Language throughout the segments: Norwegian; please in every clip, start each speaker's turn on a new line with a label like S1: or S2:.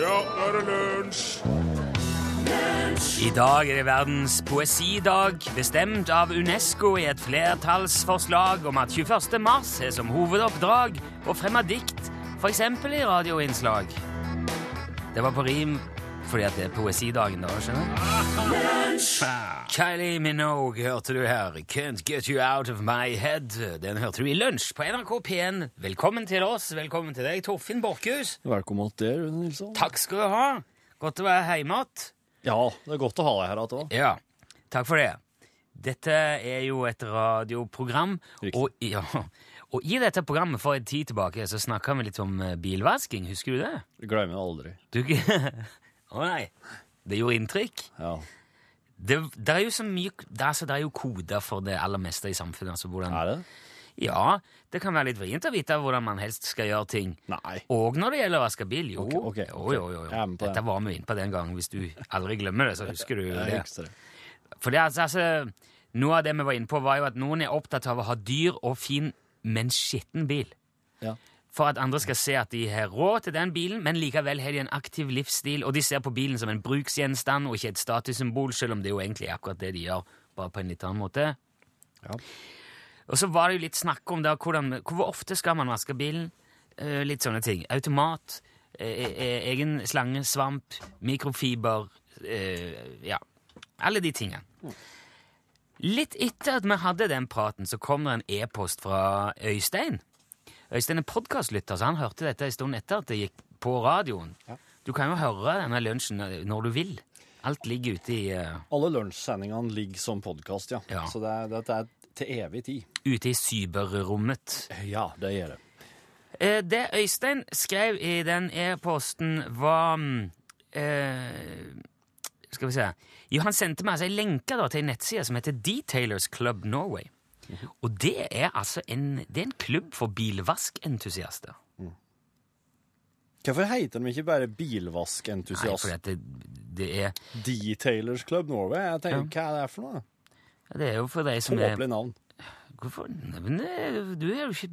S1: Ja, nå er det lunsj!
S2: I dag er det verdens poesidag, bestemt av UNESCO i et flertallsforslag om at 21. mars er som hovedoppdrag å fremme dikt, f.eks. i radioinnslag. Det var på rim fordi at det er poesidagen da, skjønner du? Kylie Minogue hørte du her. Can't get you out of my head. Den hørte du i lunsj på NRK P1. Velkommen til oss, velkommen til deg, Torfinn Borkhus.
S3: Velkommen til deg, Rune Nilsson.
S2: Takk skal du ha. Godt å være hjemme igjen.
S3: Ja, det er godt å ha deg her igjen.
S2: Ja, takk for det. Dette er jo et radioprogram,
S3: Riktig.
S2: og, ja, og i dette programmet for en tid tilbake så snakka vi litt om eh, bilvasking, husker du det?
S3: Glemmer det aldri.
S2: Du, å nei, det gjorde inntrykk.
S3: Ja.
S2: Det, det er jo så mye det er, så, det er jo koder for det aller meste i samfunnet. Altså hvordan,
S3: Er det?
S2: Ja, det kan være litt vrient å vite hvordan man helst skal gjøre ting.
S3: Nei.
S2: Og når det gjelder å vaske bil, jo.
S3: Ok, ok, ok.
S2: jo, jo, jo, jo.
S3: Jeg er med på det.
S2: Dette var vi inne på den gangen. Hvis du aldri glemmer det, så husker du jo
S3: Jeg
S2: det.
S3: husker det.
S2: For det er altså, altså, Noe av det vi var inne på, var jo at noen er opptatt av å ha dyr og fin, men skitten bil.
S3: Ja.
S2: For at andre skal se at de har råd til den bilen, men likevel har de en aktiv livsstil, og de ser på bilen som en bruksgjenstand og ikke et statussymbol, selv om det jo egentlig er akkurat det de gjør, bare på en litt annen måte.
S3: Ja.
S2: Og så var det jo litt snakk om da, hvordan, hvor ofte skal man vaske bilen? Eh, litt sånne ting. Automat, eh, eh, egen slange, svamp, mikrofiber, eh, ja, alle de tingene. Litt etter at vi hadde den praten, så kom det en e-post fra Øystein. Øystein er podkastlytter, så han hørte dette en stund etter at det gikk på radioen. Du kan jo høre denne lunsjen eh, når du vil. Alt ligger ute i, eh,
S3: Alle lunsjsendingene ligger som podkast, ja.
S2: Ja.
S3: Så det er, dette er til evig tid.
S2: ute i cyberrommet.
S3: Ja, det gjør det.
S2: Eh, Det Øystein skrev i den e-posten, var mm, eh, Skal vi se Jo, han sendte meg altså en lenke da, til en nettside som heter Detailers Club Norway. Og det er altså en, det er en klubb for bilvaskentusiaster.
S3: Hvorfor heter de ikke bare
S2: Nei, fordi
S3: Bilvaskentusiast?
S2: at det, det, er,
S3: Detailers Club Norway? Jeg tenker, Hva er det for noe?
S2: det er jo for deg som er
S3: Tåpelig navn.
S2: Hvorfor nevner Du er jo ikke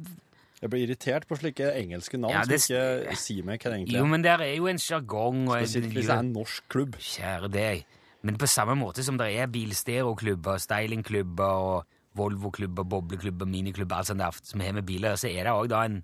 S3: Jeg blir irritert på slike engelske navn
S2: Ja, det-
S3: som ikke sier meg hva det egentlig
S2: Jo,
S3: er.
S2: men der er jo en sjargong og
S3: Spesielt hvis det er
S2: en
S3: en norsk klubb.
S2: Kjære deg. Men på samme måte som det er bilstereoklubber, stylingklubber og Volvo-klubber, bobleklubber, miniklubber, alt sånt der som har med biler, så er det òg da en,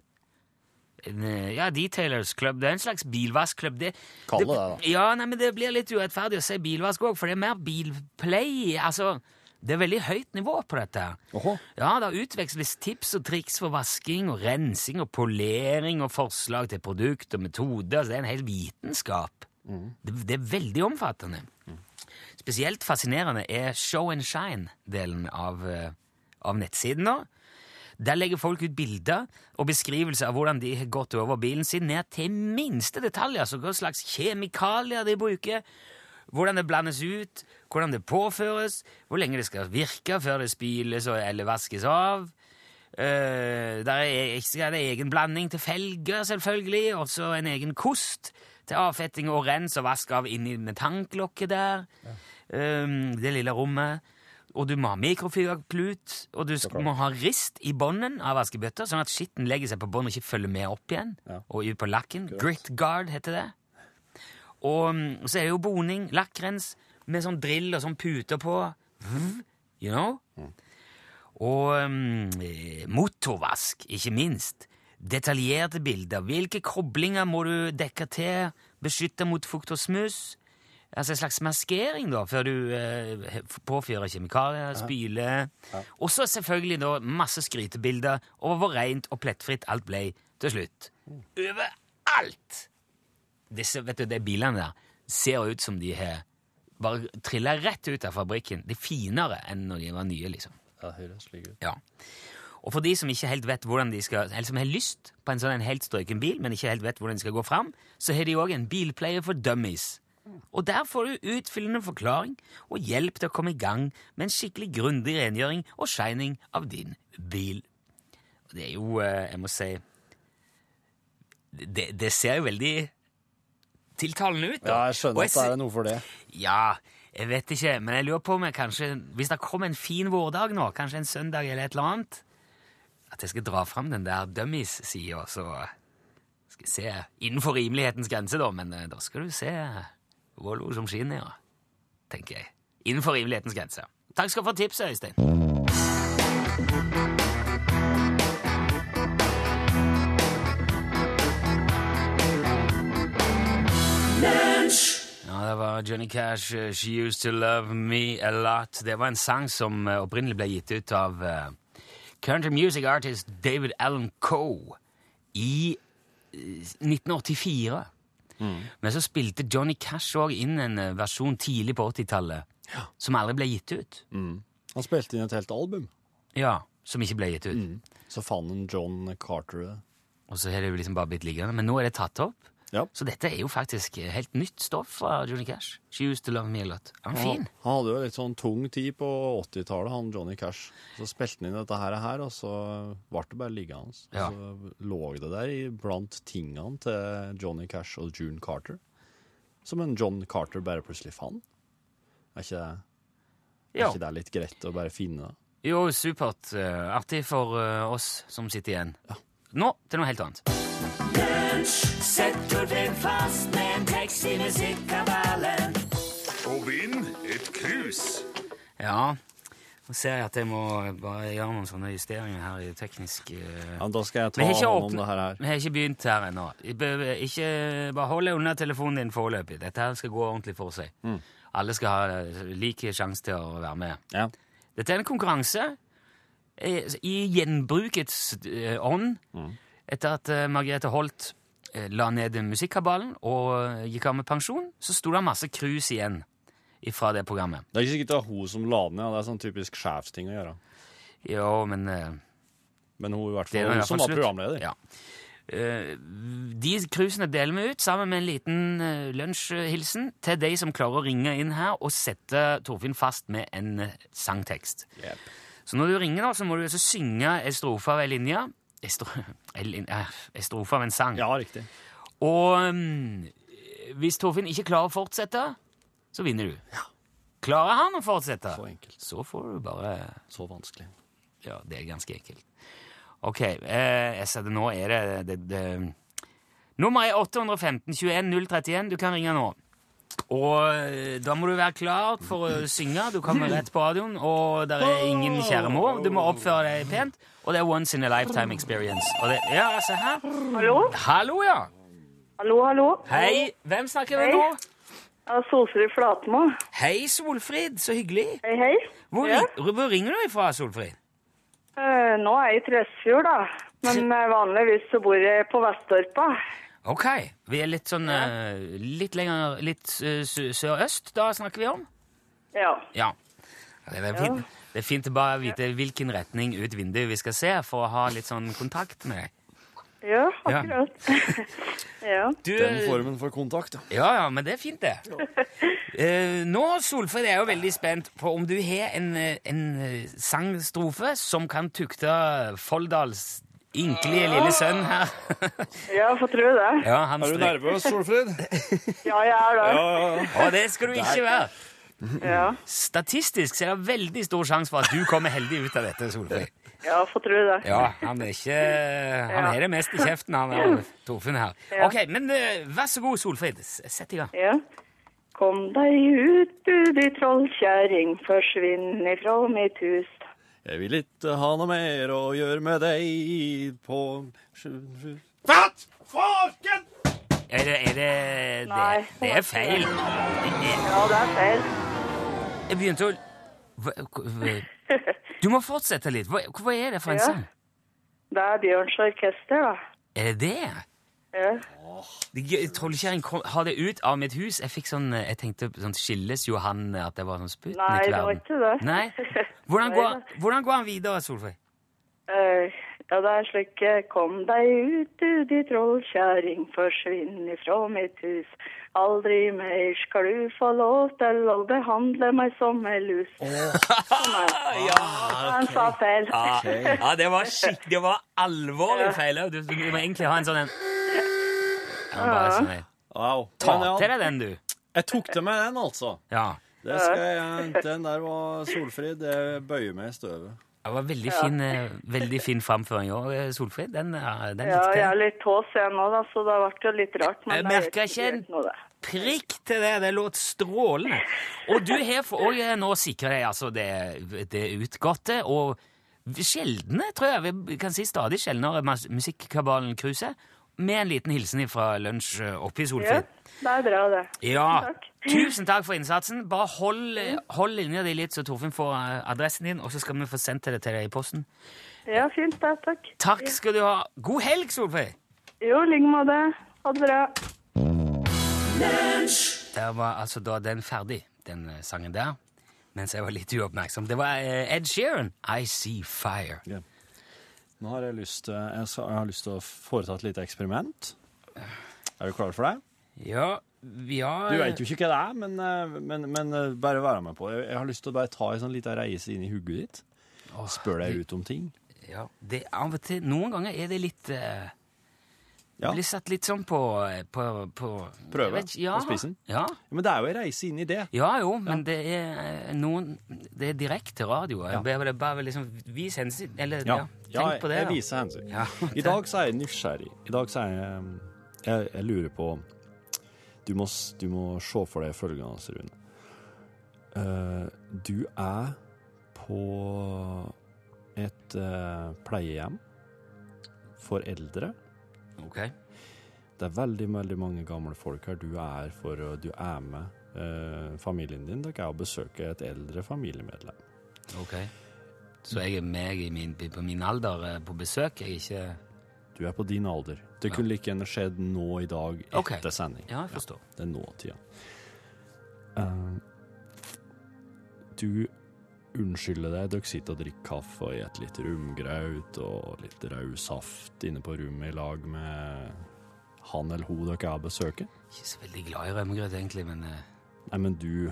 S2: en eh, Ja, detailers-klubb. Det er en slags bilvaskklubb. Det,
S3: Kall det det, da.
S2: Ja, nei, men det blir litt urettferdig å si bilvask òg, for det er mer bilplay. Altså, det er veldig høyt nivå på dette. her.
S3: Åhå.
S2: Ja, det utveksles tips og triks for vasking og rensing og polering og forslag til produkt og metoder. Så det er en hel vitenskap. Det, det er veldig omfattende. Spesielt fascinerende er show and shine-delen av, eh, av nettsiden. nå. Der legger folk ut bilder og beskrivelser av hvordan de har gått over bilen sin, ned til minste detalj, altså hva slags kjemikalier de bruker, hvordan det blandes ut, hvordan det påføres, hvor lenge det skal virke før det spyles og- eller vaskes av. Eh, der er, er det egen blanding til felger, selvfølgelig, og så en egen kost til avfetting og rens og vask av inni med tanklokket der. Eh, det lille rommet. Og du må ha mikrofiberklut, og du sk- må ha rist i bånden av vaskebøtta, sånn at skitten legger seg på bånd og ikke følger med opp igjen. Og ut på lakken. Grit guard heter det. Og mm, så er det jo boning, lakkrens, med sånn drill og sånn puter på. You know? Og mm, eh, motorvask, ikke minst. Detaljerte bilder. Hvilke koblinger må du dekke til? Beskytte mot fukt og smuss? Altså en slags maskering, da, før du eh, påfyrer kjemikalier, spyler Og så selvfølgelig da masse skrytebilder over hvor rent og plettfritt alt ble til slutt. Overalt! Disse, vet du, de bilene der ser ut som de har bare trilla rett ut av fabrikken. De er finere enn når de var nye, liksom.
S3: Ja, det høres slik ut.
S2: Ja. Og for de som ikke helt vet hvordan de skal, eller som har lyst på en sånn en helt strøken bil, men ikke helt vet hvordan de skal gå fram, så har de òg en bilplayer for dummies. Og der får du utfyllende forklaring og hjelp til å komme i gang med en skikkelig grundig rengjøring og shining av din bil. Og det er jo, eh, jeg må si Det, det ser jo veldig tiltalende ut. da.
S3: Ja, jeg
S2: Og
S3: skjønner at det
S2: sy-
S3: er noe for det.
S2: ja, jeg vet ikke, men jeg lurer på om jeg kanskje Hvis det kommer en fin vårdag nå, kanskje en søndag eller et eller annet At jeg skal dra fram den der dummies-sida, så Skal se Innenfor rimelighetens grense, da, men eh, da skal du se Volvo som skinner, ja. Tenker jeg. Innenfor rimelighetens grense. Takk skal du få tipset, Øystein. Ja, det var Johnny Cash, eh, 'She Used To Love Me A Lot'. Det var en sang som eh, opprinnelig ble gitt ut av eh, country music artist David Allen Coe i eh, 1984.
S3: Mm.
S2: Men så spilte Johnny Cash òg inn en eh, versjon tidlig på 80-tallet som aldri ble gitt ut.
S3: Mm. Han spilte inn et helt album.
S2: Ja, Som ikke ble gitt ut.
S3: Så fant han John Carter det.
S2: Og så har det jo liksom bare blitt liggende. Men nå er det tatt opp.
S3: Ja.
S2: Så dette er jo faktisk eh, helt nytt stoff fra Johnny Cash. She used to love me a lot. Han er fin.
S3: Han, han hadde jo litt sånn tung tid på 80-tallet, han Johnny Cash. Så spilte han inn dette her, her, og så ble det bare liggende. hans.
S2: Ja.
S3: Og Så lå det der i- blant tingene til Johnny Cash og June Carter. Som en John Carter bare plutselig fant. Er ikke det, er
S2: Ja.
S3: ikke det litt greit å bare finne? det?
S2: Jo, supert. eh, Artig for eh, oss som sitter igjen. Nå til noe helt annet.
S1: Og vinn et krus.
S2: Ja, nå ser jeg at jeg må bare gjøre noen sånne justeringer her i teknisk eh,
S3: Ja, men da skal jeg
S2: Vi
S3: ta
S2: har ikke
S3: hånd om
S2: åpnet-
S3: det her. her.
S2: Vi har ikke begynt her ennå. Jeg bør- Ikke, bare hold deg unna telefonen din foreløpig. Dette her skal gå ordentlig for seg. Alle skal ha eh, lik sjanse til å være med.
S3: Ja.
S2: Dette er en konkurranse eh, i gjenbrukets eh, ånd.
S3: Mm.
S2: Etter at eh, Margrethe Holt eh, la ned musikkabalen og eh, gikk av med pensjon, så sto det masse krus igjen fra det programmet.
S3: Det er ikke sikkert det er hun som la den ned, det er sånn typisk sjefsting å gjøre.
S2: Jo, men eh,
S3: Men hun, i hvert fall,
S2: det i
S3: hun
S2: hvert fall
S3: som var
S2: slutt.
S3: programleder.
S2: Ja. Eh, De krusene deler vi ut sammen med en liten eh, lunsjhilsen til de som klarer å ringe inn her og sette Torfinn fast med en eh, sangtekst.
S3: Jep.
S2: Så når du ringer, da, så må du altså synge en strofe av en linje. En stro- en lin- eh, en strofe av en sang.
S3: Ja, riktig.
S2: Og mm, hvis Torfinn ikke klarer å fortsette, så vinner du. Klarer han å fortsette,
S3: Så enkelt.
S2: så får du bare
S3: Så vanskelig.
S2: Ja, det er ganske enkelt. OK, eh, jeg ser det nå er det, det, det Nummeret er 815 21 031. Du kan ringe nå. Og eh, da må du være klar for å synge. Du kommer rett på radioen, og det er ingen skjermår. Du må oppføre deg pent. Og det er once in a lifetime experience. Og det, ja, se her.
S4: Hallo?
S2: Hallo, ja.
S4: Hallo, hallo.
S2: Hei. Hvem snakker vi
S4: Hei.
S2: nå?
S4: Ja, Solfrid Flatmo.
S2: Hei, Solfrid. Så hyggelig.
S4: Hei, hei.
S2: Hvor,
S4: Ja.
S2: ring- hvor ringer du ifra, Solfrid?
S4: Eh, nå er jeg i Tresfjord, da. Men eh, vanligvis så bor jeg på Vestorpa.
S2: Ok, vi er litt sånn eh, litt lenger litt eh, sø- sørøst, da snakker vi om?
S4: Ja.
S2: Ja. Det er, fint. det er fint å bare vite hvilken retning ut vinduet vi skal se, for å ha litt sånn kontakt med deg.
S4: Ja, akkurat. ja.
S2: Du,
S3: Den formen for kontakt, ja.
S2: Ja, ja, men det er fint, det. Eh, nå, Solfrid, er jeg jo veldig spent på om du har en, eh, en eh, sangstrofe som kan tukte Folldals ynkelige lille sønn her.
S4: ja, får tro det.
S2: ja, han
S3: Er du
S2: stryker.
S3: nervøs, Solfrid?
S4: Ja, jeg er det.
S2: Å, det skal du ikke være.
S4: Ja,
S2: Statistisk så er det veldig stor sjanse for at du kommer heldig ut av dette, Solfrid.
S4: ja får tro det.
S2: Ja, han er ikke Han er det mest i kjeften, han er Torfinn her.
S4: Ja.
S2: Ok, men eh, vær så god, Solfrid. S- Sett i gang.
S4: Ja. Kom deg ut, du di trollkjerring, forsvinn ifra mitt hus.
S3: Jeg vil ikke ha noe mer å gjøre med deg på
S1: Fatt! Faken!
S2: Er det Er det Det,
S4: Nei.
S2: det er feil.
S4: Ja, det er feil.
S2: Jeg begynte å Hva- hva- Du må fortsette litt. Hva, hva er det for en
S4: Ja.
S2: sang?
S4: Det er Bjørns orkester, da.
S2: Er det det?
S4: Ja.
S2: De- Trollkjerring, kom- ha det ut av mitt hus. Jeg fikk sånn eh, Jeg tenkte sånn Skilles Johan at det var sånn sputen
S4: Nei,
S2: i
S4: det var
S2: verden?
S4: ikke det.
S2: Nei. Hvordan
S4: Nei,
S2: går,
S4: da.
S2: hvordan går han videre, Solfrid?
S4: Eh, ja, det er slik eh, Kom deg ut, du di trollkjerring, forsvinn ifra mitt hus. Aldri mer skal du få lov til å behandle meg som ei lus. Sånn Han sa feil.
S2: Ja, ja det var skikk, det var alvorlig feil. Du, du må egentlig ha en sånn en ja, men bare sånn, en-
S3: Au.
S2: Ta
S3: Men ja,
S2: til deg den, du.
S3: Jeg tok til meg den, altså.
S2: Ja.
S3: Det skal jeg, den der var Solfrid. Jeg bøyer meg i støvet.
S2: Det var veldig fin, eh, veldig fin framføring i år, eh, Solfrid. Den, eh, den
S4: Ja,
S2: likte
S4: jeg er
S2: jeg.
S4: litt tås jeg nå, da, så det ble jo litt rart.
S2: Jeg
S4: Men det er
S2: merker ikke en-
S4: helt greit nå, det.
S2: Prikk til det! Det låt strålende. Og du har for òg eh, nå sikra deg altså det, det utgåtte og sjeldne, tror jeg vi kan si stadig sjeldnere, mas- musikkabalen Kruse, med en liten hilsen fra lunsj eh, oppe i
S4: Ja,
S2: Solfrid.
S4: det er bra, det.
S2: Ja.
S4: Takk.
S2: Tusen takk for innsatsen. Bare hold, eh, hold linja di litt, så Torfinn får eh, adressen din, og så skal vi få sendt det til deg i posten.
S4: Ja, fint det, takk.
S2: Takk skal du ha. God helg, Solfrid!
S4: Jo, i like måte. Ha det bra.
S2: Der var altså da den ferdig, den eh, sangen der. Mens jeg var litt uoppmerksom. Det var eh, Ed Sheeran, I See Fire.
S3: Nå har jeg lyst til, jeg skal, jeg har lyst til å foreta et lite eksperiment. Er du klar for det?
S2: Ja, vi har
S3: Du veit jo ikke hva det er, men, eh, men, men eh, bare være med på det. Jeg har lyst til å bare ta en sånn liten reise inn i hodet ditt. Spør deg ut om ting.
S2: Ja, det, av og til, noen ganger er det litt eh,
S3: Ja.
S2: Blir satt litt sånn på, på, på
S3: Prøve
S2: jeg vet ikke, ja,
S3: på spissen.
S2: Ja.
S3: Men det er jo ei reise inn i det.
S2: ja jo, men det er eh, noen Det er direkte radio. Jeg
S3: Ja.
S2: ber deg bare liksom Vis hensyn Eller ja,
S3: Ja,
S2: tenk på det.
S3: jeg,
S2: da.
S3: jeg viser hensyn.
S2: Ja,
S3: I dag så er jeg nysgjerrig. I dag så er jeg um, Jeg, jeg lurer på du må, s- du må se for deg følgende, Rune. Eh, du er på et eh, pleiehjem for eldre.
S2: Ok.
S3: Det er veldig, veldig mange gamle folk her. Du er, for, å- du er med eh, familien din. Dere er og besøker et eldre familiemedlem.
S2: ok. Så jeg er meg i min, på min alder eh, på besøk? Jeg er ikke
S3: Du er på din alder. Det kunne like gjerne skjedd nå i dag etter
S2: Ok.
S3: sending.
S2: Ja, jeg forstår.
S3: Det er nåtida. Eh, du unnskylder deg. Dere sitter og drikker kaffe og spiser litt rumgraut og litt rød saft inne på rommet i lag med han eller hun dere er og besøker.
S2: Ikke så veldig glad i rømmegrøt, egentlig, men eh,
S3: Nei, men du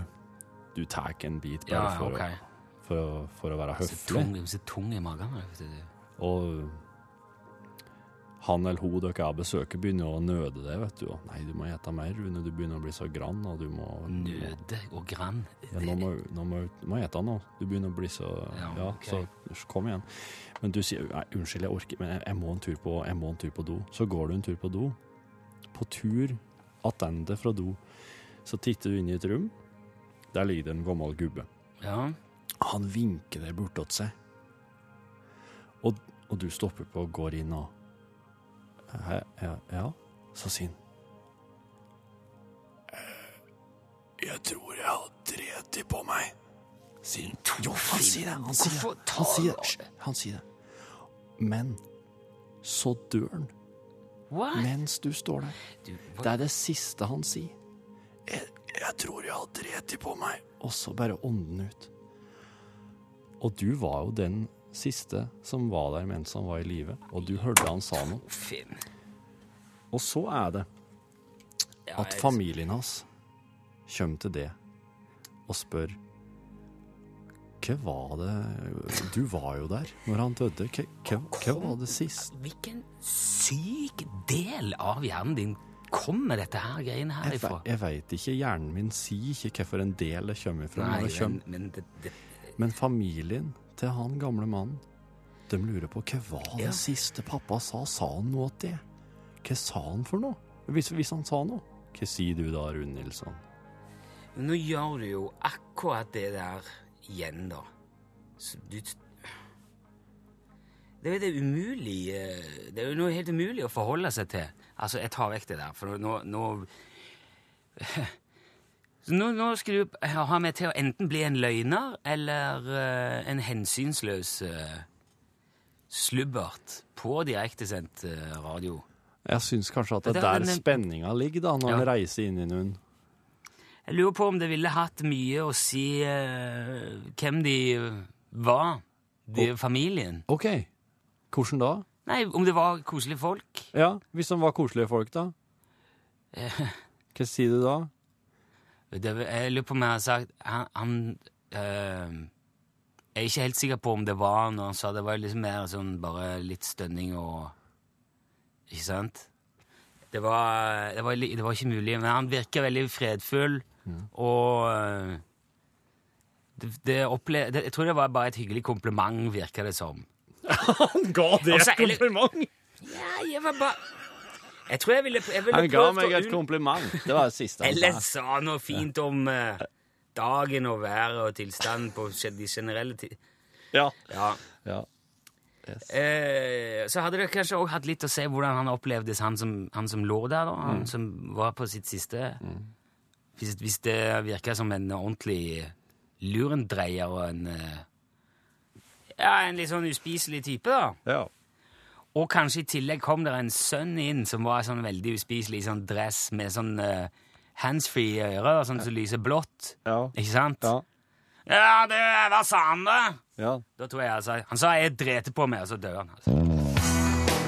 S3: Du tar en bit
S2: ja,
S3: bare for,
S2: ok.
S3: å, for, å, for å være
S2: Så
S3: høflig.
S2: altså, tung, så tung i magen. vet du.
S3: Og han eller hun dere er og besøker, begynner å nøde deg, vet du. Og, Nei, du må gjette mer, Rune. Du begynner å bli så grann, og du må
S2: Nøde og grann.
S3: Ja, nå må nå må du må gjette nå. Du begynner å bli så Ja,
S2: Ja, ok.
S3: så kom igjen. Men du sier Nei, unnskyld, jeg orker Men jeg, jeg, må en tur på, jeg må en tur på do. Så går du en tur på do. På tur attende fra do, så titter du inn i et rom. Der ligger det en gammel gubbe.
S2: Ja.
S3: Han vinker deg bortåt seg. Og, og du stopper på og går inn og Hæ, ja, ja, så sier han. «Eh, Jeg tror jeg har dreti på meg. Sier han. Jo, han sier det. Han sier
S2: Hvorfor
S3: det.
S2: tar
S3: Han sier
S2: du-
S3: det. Hysj, Han sier det. Men så dør han
S2: What?
S3: mens du står der.
S2: Du,
S3: Det
S2: hva?
S3: er det siste han sier. Jeg, jeg tror jeg har dreti på meg. Og så bare ånden ut. Og du var jo den siste som var der mens han var i live, og du hørte han sa noe.
S2: Finn.
S3: Og så er det
S2: Ja,
S3: at
S2: jeg-
S3: familien hans kommer til det og spør Hva var det Du var jo der når han døde. Hva, hva, hva var det sist?
S2: Hvilken syk del av hjernen din kommer dette her greiene her
S3: Jeg,
S2: ifra?
S3: ve- jeg veit ikke. Hjernen min sier ikke hvorfor en del det kommer fra.
S2: Nei,
S3: når det kommer.
S2: men, men det, det,
S3: Men familien til han gamle mannen, de lurer på hva var det
S2: Ja.
S3: siste pappa sa? Sa han noe til det? Hva sa han for noe? Hvis, hvis han sa noe? Hva sier du da, Rune Nilsson?
S2: Nå gjør du jo akkurat det der igjen, da. Så du Det er jo det umulig eh, Det er jo noe helt umulig å forholde seg til. Altså, jeg tar vekk det der, for nå Nå, Så nå, nå skal du ha meg til å enten bli en løgner eller eh, en hensynsløs eh, slubbert på direktesendt eh, radio.
S3: Jeg syns kanskje at det
S2: Det
S3: er
S2: er
S3: der
S2: den-
S3: spenninga ligger, da, når
S2: Ja.
S3: han reiser inn i noen.
S2: Jeg lurer på om det ville hatt mye å si eh, hvem de var, de familien.
S3: OK, hvordan da?
S2: Nei, om det var koselige folk.
S3: Ja, hvis de var koselige folk, da? Hva sier du da?
S2: Det, jeg lurer på om jeg har sagt Han, han eh, Jeg er ikke helt sikker på om det var han når han sa det. Det var liksom mer sånn bare litt stønning og Ikke sant? Det var, det var, li- det var ikke mulig, men han virker veldig fredfull og eh, Det, det opple det, jeg tror det var bare et hyggelig kompliment, virka det som.
S3: Han ga det
S2: Altså, eller-
S3: kompliment!
S2: Ja, jeg var bare Jeg tror jeg ville, jeg ville
S3: Han ga
S2: prøvd
S3: meg
S2: å
S3: et
S2: unn-
S3: kompliment. Det var det siste
S2: Eller
S3: han sa.
S2: sa noe fint om eh, dagen og været og tilstanden på gen- de generelle ti...
S3: Ja.
S2: Ja.
S3: ja.
S2: Eh, så hadde det kanskje òg hatt litt å se hvordan han opplevdes, han som, han som lå der, da. Han som var på sitt siste hvis, hvis det virka som en ordentlig lurendreier og en eh, Ja, en litt sånn uspiselig type, da.
S3: ja.
S2: Og kanskje i tillegg kom der en sønn inn som var sånn veldig uspiselig i sånn dress med sånn eh, handsfree i øret, da, sånn som lyser blått.
S3: Ja.
S2: Ikke sant?
S3: Ja.
S2: Ja, du, hva sa han, da?
S3: ja.
S2: Da tror jeg han sa Han sa jeg drete på meg, og så døde han. Altså.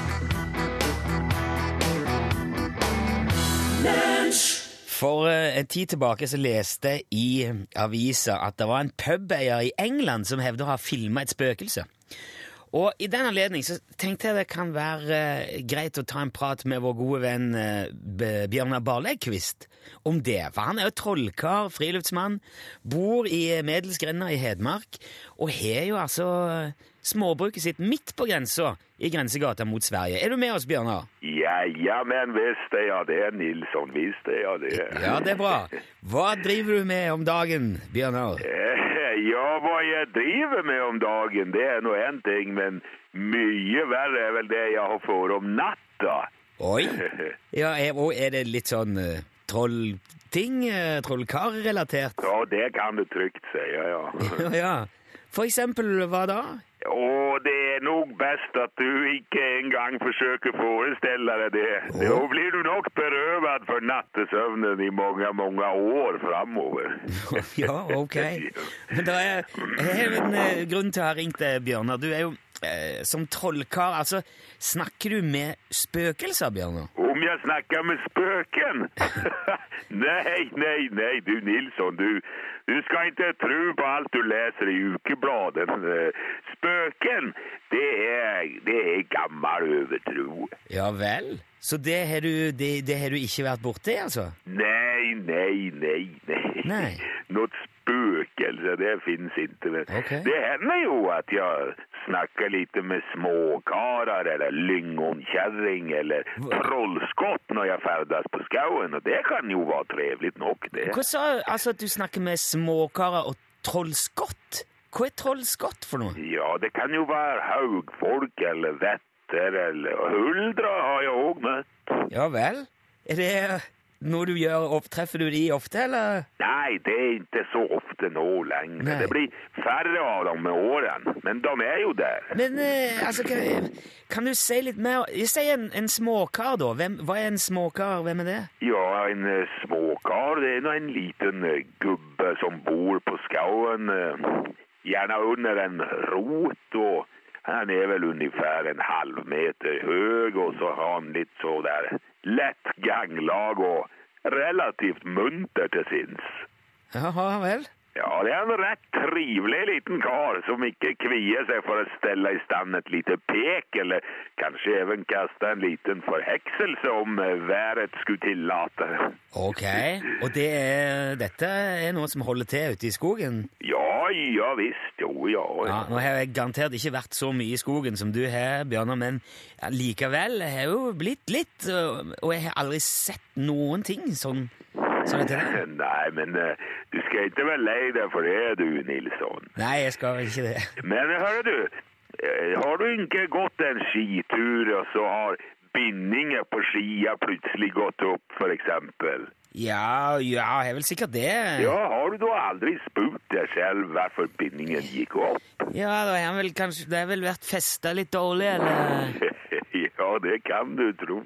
S2: For eh, en tid tilbake så leste jeg i eh, avisa at det var en pubeier i England som hevde å ha filma et spøkelse. Og i den anledning så tenkte jeg det kan være eh, greit å ta en prat med vår gode venn eh, B- Bjørnar Barleikvist om det. For han er jo trollkar, friluftsmann, bor i eh, Medelsgrenda i Hedmark og har jo altså eh, småbruket sitt midt på grensa i grensegata mot Sverige. Er du med oss, Bjørnar?
S5: Jajamän, visst är jag det, Nilsson. Visst är jag det.
S2: Ja, det er bra. Hva driver du med om dagen, Bjørnar?
S5: Eh, Ja, vad jag driver med om dagen, det är nog en ting, men mycket värre är väl det jag har för om natta.
S2: Oi! Ja, er, og er det litt sånn eh, trollting? eh, Trollkarrelatert?
S5: Ja, det kan du tryggt säga, ja.
S2: Ja. For eksempel hva da?
S5: Och det är nog bäst att du inte en gång försöker föreställa dig det. Då blir du nog berövad för nattesömnen i många, många år framöver.
S2: Ja, ok. Men da er, jeg har en eh, grunn til å ha ringt deg, Bjørnar. Du er jo eh, som trollkar Altså, snakker du med spøkelser, Bjørnar?
S5: Om jag snackar med spöken? nej, nej, nej du Nilsson, du, du ska inte tro på allt du läser i ukebladen. Eh, Spöken, det är, det är gammal övertro.
S2: Ja vel? Så det har du, det, det har du ikke vært borti, altså?
S5: Nej, nej, nej, nej.
S2: Nej.
S5: Något spökelse, det finns inte. Men
S2: Okej.
S5: Det händer ju att jag snackar lite med småkarlar eller lingonkärring eller
S2: Va-
S5: trollskott när jag färdas på skogen. Och det kan ju vara trevligt nog det.
S2: Hva sa du? Altså at du snakker med småkarer og trollskott? Hva er trollskott for noe?
S5: Ja, det kan ju vara haugfolk eller vetter eller och huldra har jag också mött.
S2: Ja vel? Er det noe du gjør, opptreffer du de ofte, eller?
S5: Nej, det är inte så ofta nå längre.
S2: Nej.
S5: Det blir färre av dem med åren, men de är ju där.
S2: Men eh, altså, kan, kan du si litt mer? Si en, en småkar, da. Hvem, hva er en småkar? Hvem er det?
S5: Ja, en eh, småkar, det är nog en liten eh, gubbe som bor på skogen, eh, gärna under en rot och han är väl ungefär en halv meter hög och så har han lite så där lätt ganglag och relativt munter till sinns.
S2: Jaha vel.
S5: Ja, det er en rett trivelig liten kar som ikke kvier seg for å stelle i stand et lite pek, eller kanskje even kaste en liten forhekselse om eh, været skulle tillate.
S2: Ok. Og det er, dette er noe som holder til ute i skogen?
S5: Ja, ja visst, jo, ja.
S2: Ja, Nå har jeg garantert ikke vært så mye i skogen som du har, Bjørnar, men ja, likevel jeg har jo blitt litt, og og jeg har aldri sett noen ting sånn som dette der.
S5: Nei, men eh, du skal ikke være lei deg for det, du, Nilsson.
S2: Nei, jeg skal vel ikke det.
S5: Men hører du, eh, har du ikke gått en skitur, og så har bindinger på skia plutselig gått opp, for eksempel?
S2: Ja, ja, jeg har vel sikkert det.
S5: Ja, har du da aldri spurt deg selv hvorfor bindingen gikk opp?
S2: Ja, da har jeg vel kanskje Det har vel vært festa litt dårlig, eller
S5: ja, det kan du tro.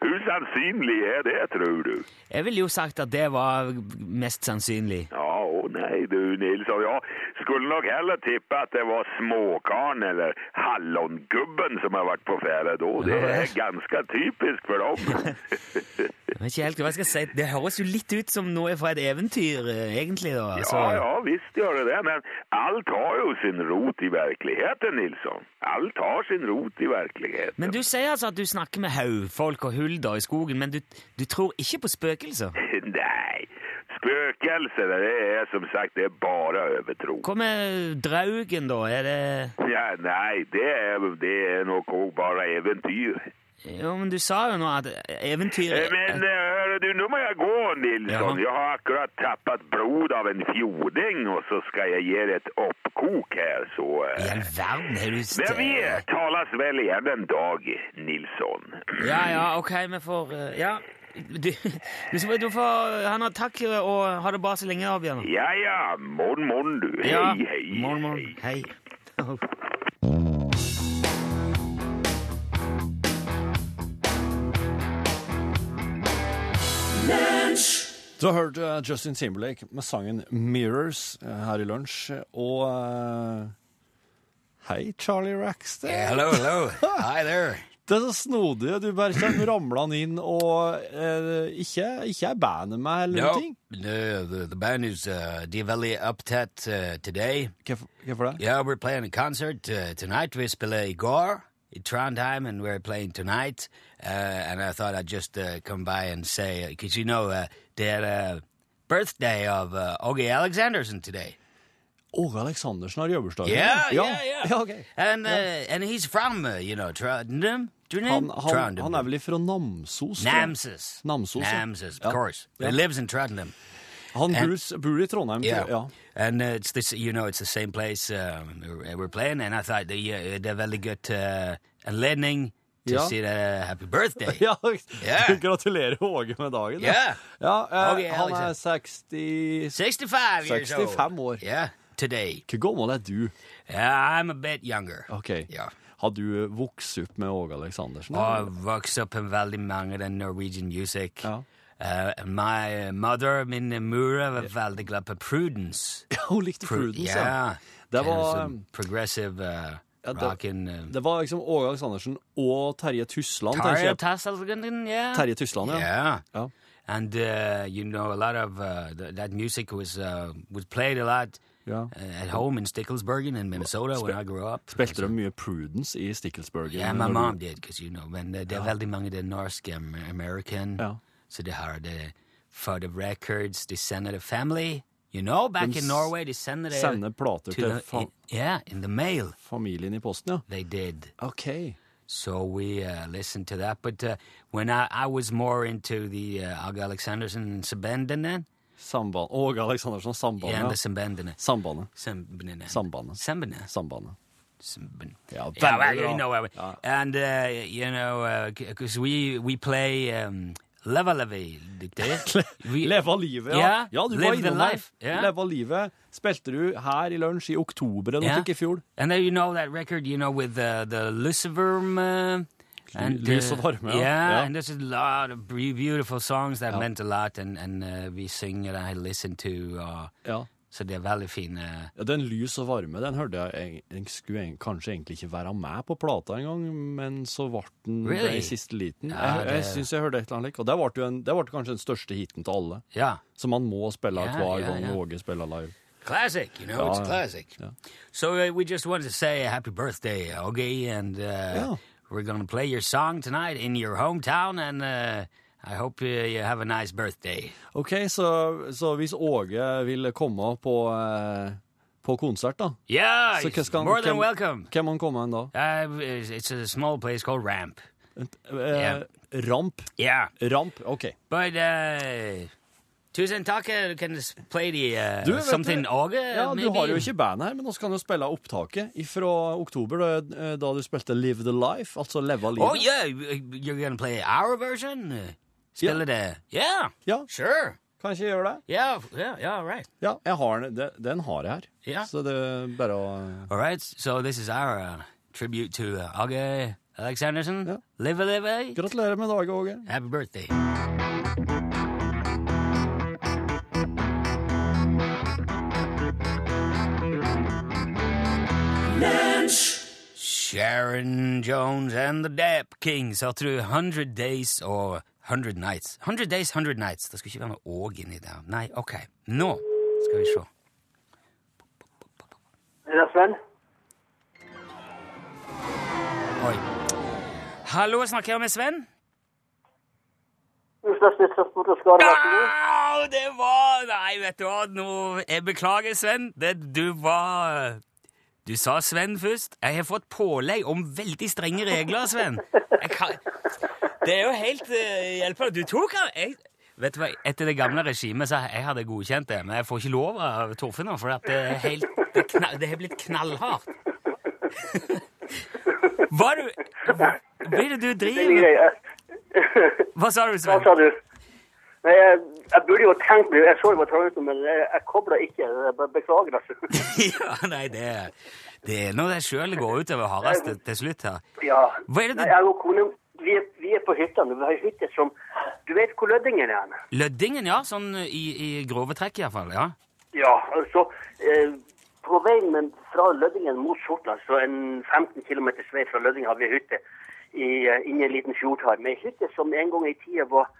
S5: Hvor sannsynlig er det, tror du?
S2: Jeg ville jo sagt at det var mest sannsynlig.
S5: Ja, å nei, du Nilsson. Ja, skulle nok heller tippe at det var småkaren eller hallongubben som har vært på ferde da. Det
S2: Ja,
S5: er
S2: vel.
S5: ganske typisk for dem.
S6: Jeg vet ikke helt hva jeg skal si. Det høres jo litt ut som noe fra et eventyr, eh, egentlig. da.
S5: Ja, altså- ja, visst gjør det det, men alt har jo sin rot i verkligheten, Nilsson. Alt har sin rot i verkligheten.
S6: Men du sier altså at du snakker med haugfolk og hulder i skogen, men du, du tror ikke på spøkelser?
S5: Nei, spøkelser, det er som sagt, det er bare overtro.
S6: Hva med draugen, da? Er det
S5: Ja, nei, det er, det er nok også bare eventyr.
S6: Jo, men du sa jo nå at eventyr
S5: Eh, Men eh, hører du, nå må jeg gå,
S6: Jaha.
S5: Nilsson. Jeg har akkurat tappet blod av en fjording, og så skal jeg gi deg et oppkok her, så... eh.
S6: I all verden, har du
S5: Men vi eh, talas vel igjen en dag, Nilsson.
S6: Ja, ja, ok, vi får eh, Ja. Du, du, du får Han har takk eh, og ha det bra så lenge, da, Bjørnar.
S5: Ja, ja, morgen, morgen, du. Hei,
S6: Ja.
S5: hei.
S6: Morgen, morgen. Hei.
S3: Du har hørt eh, Justin Timberlake med sangen 'Mirrors' eh, her i lunsj, og eh, Hei, Charlie Rackstead.
S2: Hello, Oh, hello. Hi there.
S3: Det er så snodig. Du bare kommer ramlende inn, og eh, ikke, ikke er bandet med eller noen ting.
S2: no, the, the band is uh, Diwali Uptet uh, today.
S3: Hvorfor hvorfor det?
S2: Yeah, we're playing a concert uh, tonight. We spell Igor in Trondheim, and we're playing tonight. Uh, and I thought I'd just uh, come by and say, because you know, uh, that uh, birthday of uh, Ogie Alexanderson today.
S3: Åge Aleksandersen har jobbursdag.
S2: Yeah, yeah, yeah.
S3: ja ok.
S2: And, uh, and he's from, uh, you know, Trondheim.
S3: han,
S2: Trondheim?
S3: han, han er
S2: Trondheim.
S3: vel ifra Namsos? tror jeg.
S2: Namsos.
S3: Namsos, ja.
S2: Namsos, of
S3: Ja.
S2: course. But
S3: Ja.
S2: He lives in Trondheim.
S3: Han
S2: And-
S3: bor, bor i Trondheim, tror jeg.
S2: Yeah.
S3: Ja.
S2: And uh, it's this, you know, it's the same place um, we're- we're playing, and I thought the, uh, they're very good uh, anledning to
S3: Yeah.
S2: say the happy birthday.
S3: Ja,
S2: Yeah.
S3: Gratulerer Åge med dagen. ja.
S2: Yeah.
S3: Ja, eh,
S2: Åge
S3: han er
S2: Aleksandersen.
S3: 60
S2: 65 years old.
S3: 65 år.
S2: Yeah, today.
S3: Hvor gammel er du?
S2: Uh, I'm a bit younger.
S3: Ok.
S2: Yeah.
S3: Har du eh, vokst opp med Åge Aleksandersen?
S2: I
S3: eller?
S2: vokst up in Valdimanger and Norwegian music.
S3: Ja.
S2: Uh, and my uh, mother, min mura, var veldig glad på Prudence.
S3: Ja, hun likte Prudence, ja.
S2: yeah.
S3: Det var,
S2: Sånn
S3: um,
S2: Progressive uh,
S3: Ja, det-
S2: rockin' uh,
S3: Det var liksom Åge Aleksandersen og Terje Tusland, tenker
S2: Tarja
S3: jeg.
S2: Tasselgren, yeah.
S3: Terje Tusland, ja.
S2: Yeah.
S3: Ja.
S2: And uh, you know, a lot of uh, th- that music was uh, was played a lot
S3: Ja.
S2: uh, at home in Sticklesbergen in Minnesota when I grew up.
S3: Spilte de mye Prudence i Stickelsburg?
S2: Yeah, my mom did, because you know, men uh, det er veldig mange det er norske am- American,
S3: Ja.
S2: så de har det for the records, de sender det family, you know, back
S3: De
S2: in Norway, de sender det
S3: Sende plater
S2: to
S3: til
S2: the,
S3: fa
S2: i- yeah, in the mail,
S3: familien i posten, ja.
S2: they did.
S3: OK.
S2: So we uh, listened to that. But uh, when I, I was more into the uh, Alga Alexanderson and Sambandinen.
S3: Samband. Åge Aleksandersen og
S2: Yeah, and the
S3: Sambandet.
S2: Sambandinen.
S3: Sambandet.
S2: Sambandinen.
S3: Sambandinen.
S2: Sambandinen.
S3: Sambandet.
S2: Sambandinen.
S3: Ja,
S2: Yeah, well,
S3: veldig bra.
S2: you know, uh,
S3: Ja.
S2: and uh, you know, because we we play um, Leva Levi, we,
S3: Leve av livet, ja.
S2: Ja,
S3: ja du var
S2: live the
S3: innom der.
S2: life, ja.
S3: Leve av livet spilte du her i lunsj i oktober eller noe
S2: Yeah.
S3: slik i fjor.
S2: And then you know that record, you know, with uh, the Lucifer. Uh, and,
S3: Lys
S2: uh,
S3: og varme, ja.
S2: yeah,
S3: Ja.
S2: and there's a lot of be- beautiful songs that meant a lot, and, and uh, vi synger I listen to. Uh,
S3: Ja.
S2: så det er veldig fine
S3: Ja, Den lys og varme den hørte jeg, jeg skulle jeg, kanskje egentlig ikke være med på plata engang, men så ble den
S2: Really?
S3: i siste liten.
S2: Ja,
S3: jeg jeg
S2: det-
S3: syns jeg hørte et eller annet lik, og det ble, jo en, det ble kanskje den største hiten til alle.
S2: Ja.
S3: Som man må spille
S2: Ja,
S3: hver
S2: ja,
S3: gang
S2: ja.
S3: Åge spiller live.
S2: Classic, you know,
S3: Ja,
S2: it's
S3: ja.
S2: classic. So uh, we just wanted to say happy birthday, Augie, and uh,
S3: Ja.
S2: we're going to play your song tonight in your hometown, and uh, I hope uh, you have a nice birthday.
S3: Ok, så, så hvis Åge vil komme på, eh, på konsert, da,
S2: Yeah,
S3: Så hva
S2: it's
S3: skal han-
S2: more than
S3: hvem-
S2: welcome.
S3: hvem han komme hen da?
S2: Uh, it's it's a small place called Ramp.
S3: Eh,
S2: Ja.
S3: Ramp.
S2: Yeah,
S3: Ramp, ok.
S2: but uh, tusen takk. You can just play the uh,
S3: Du, vet
S2: something
S3: du-
S2: Auge.
S3: Ja,
S2: maybe.
S3: Du har jo ikke bandet her, men vi kan jo spille opptaket fra oktober, da, eh, da du spilte Live the Life, altså Leve livet.
S2: Oh yeah, you're gonna play our version. Uh, Spille
S3: Yeah.
S2: det. Yeah,
S3: Ja,
S2: sure.
S3: kan ikke jeg gjøre det?
S2: Yeah, yeah, yeah. All right.
S3: Ja, jeg har den, den- den har jeg her.
S2: Ja.
S3: Så det er bare å
S2: All right, so this is our uh, tribute to uh, Auge Alexanderson. Live a live a
S3: Gratulerer med dagen, Åge.
S2: happy birthday. Sharon Jones and the Dap Kings are through 100 days or 100 Nights. 100 Days, 100 Nights. Det skulle ikke være noe åg inni der. Nei, ok. Nå skal vi se.
S7: Er det Sven?
S2: Oi. Hallo, snakker jeg med Sven?
S7: Utslagsnytt
S2: Au, det var Nei, vet du hva, nå Jeg beklager, Sven. Det, du var Du sa Sven først. Jeg har fått pålegg om veldig strenge regler, Sven. Jeg kan, det er jo helt eh, hjelpende. Du tok han jeg, Vet du hva, Etter det gamle regimet så jeg hadde godkjent det, men jeg får ikke lov av Torfinn nå, for at det er helt Det, knall, det har blitt knallhardt. Hva er du Hva er det du driver med? Hva sa du,
S7: Hva
S2: Sven?
S7: sa du? Nei, jeg, jeg burde jo tenkt meg Jeg så jo på trauten, men jeg, jeg kobla ikke. Jeg bare Beklager, altså.
S2: ja, nei, det er, det er når det sjøl går utover hardest til, til slutt her.
S7: Ja.
S2: Hva er det du-
S7: Nei, jeg og kona vi, er- vi er på hytta nå. Vi har hytte som Du vet hvor Lødingen er? hen?
S2: Løddingen, ja. Sånn i, i grove trekk, iallfall. Ja.
S7: Ja, altså eh, På veien men fra Lødingen mot Sortland, så en 15 km vei fra Lødingen, har vi hytte i, eh, inni en liten fjord her. Med hytte som en gang i tida var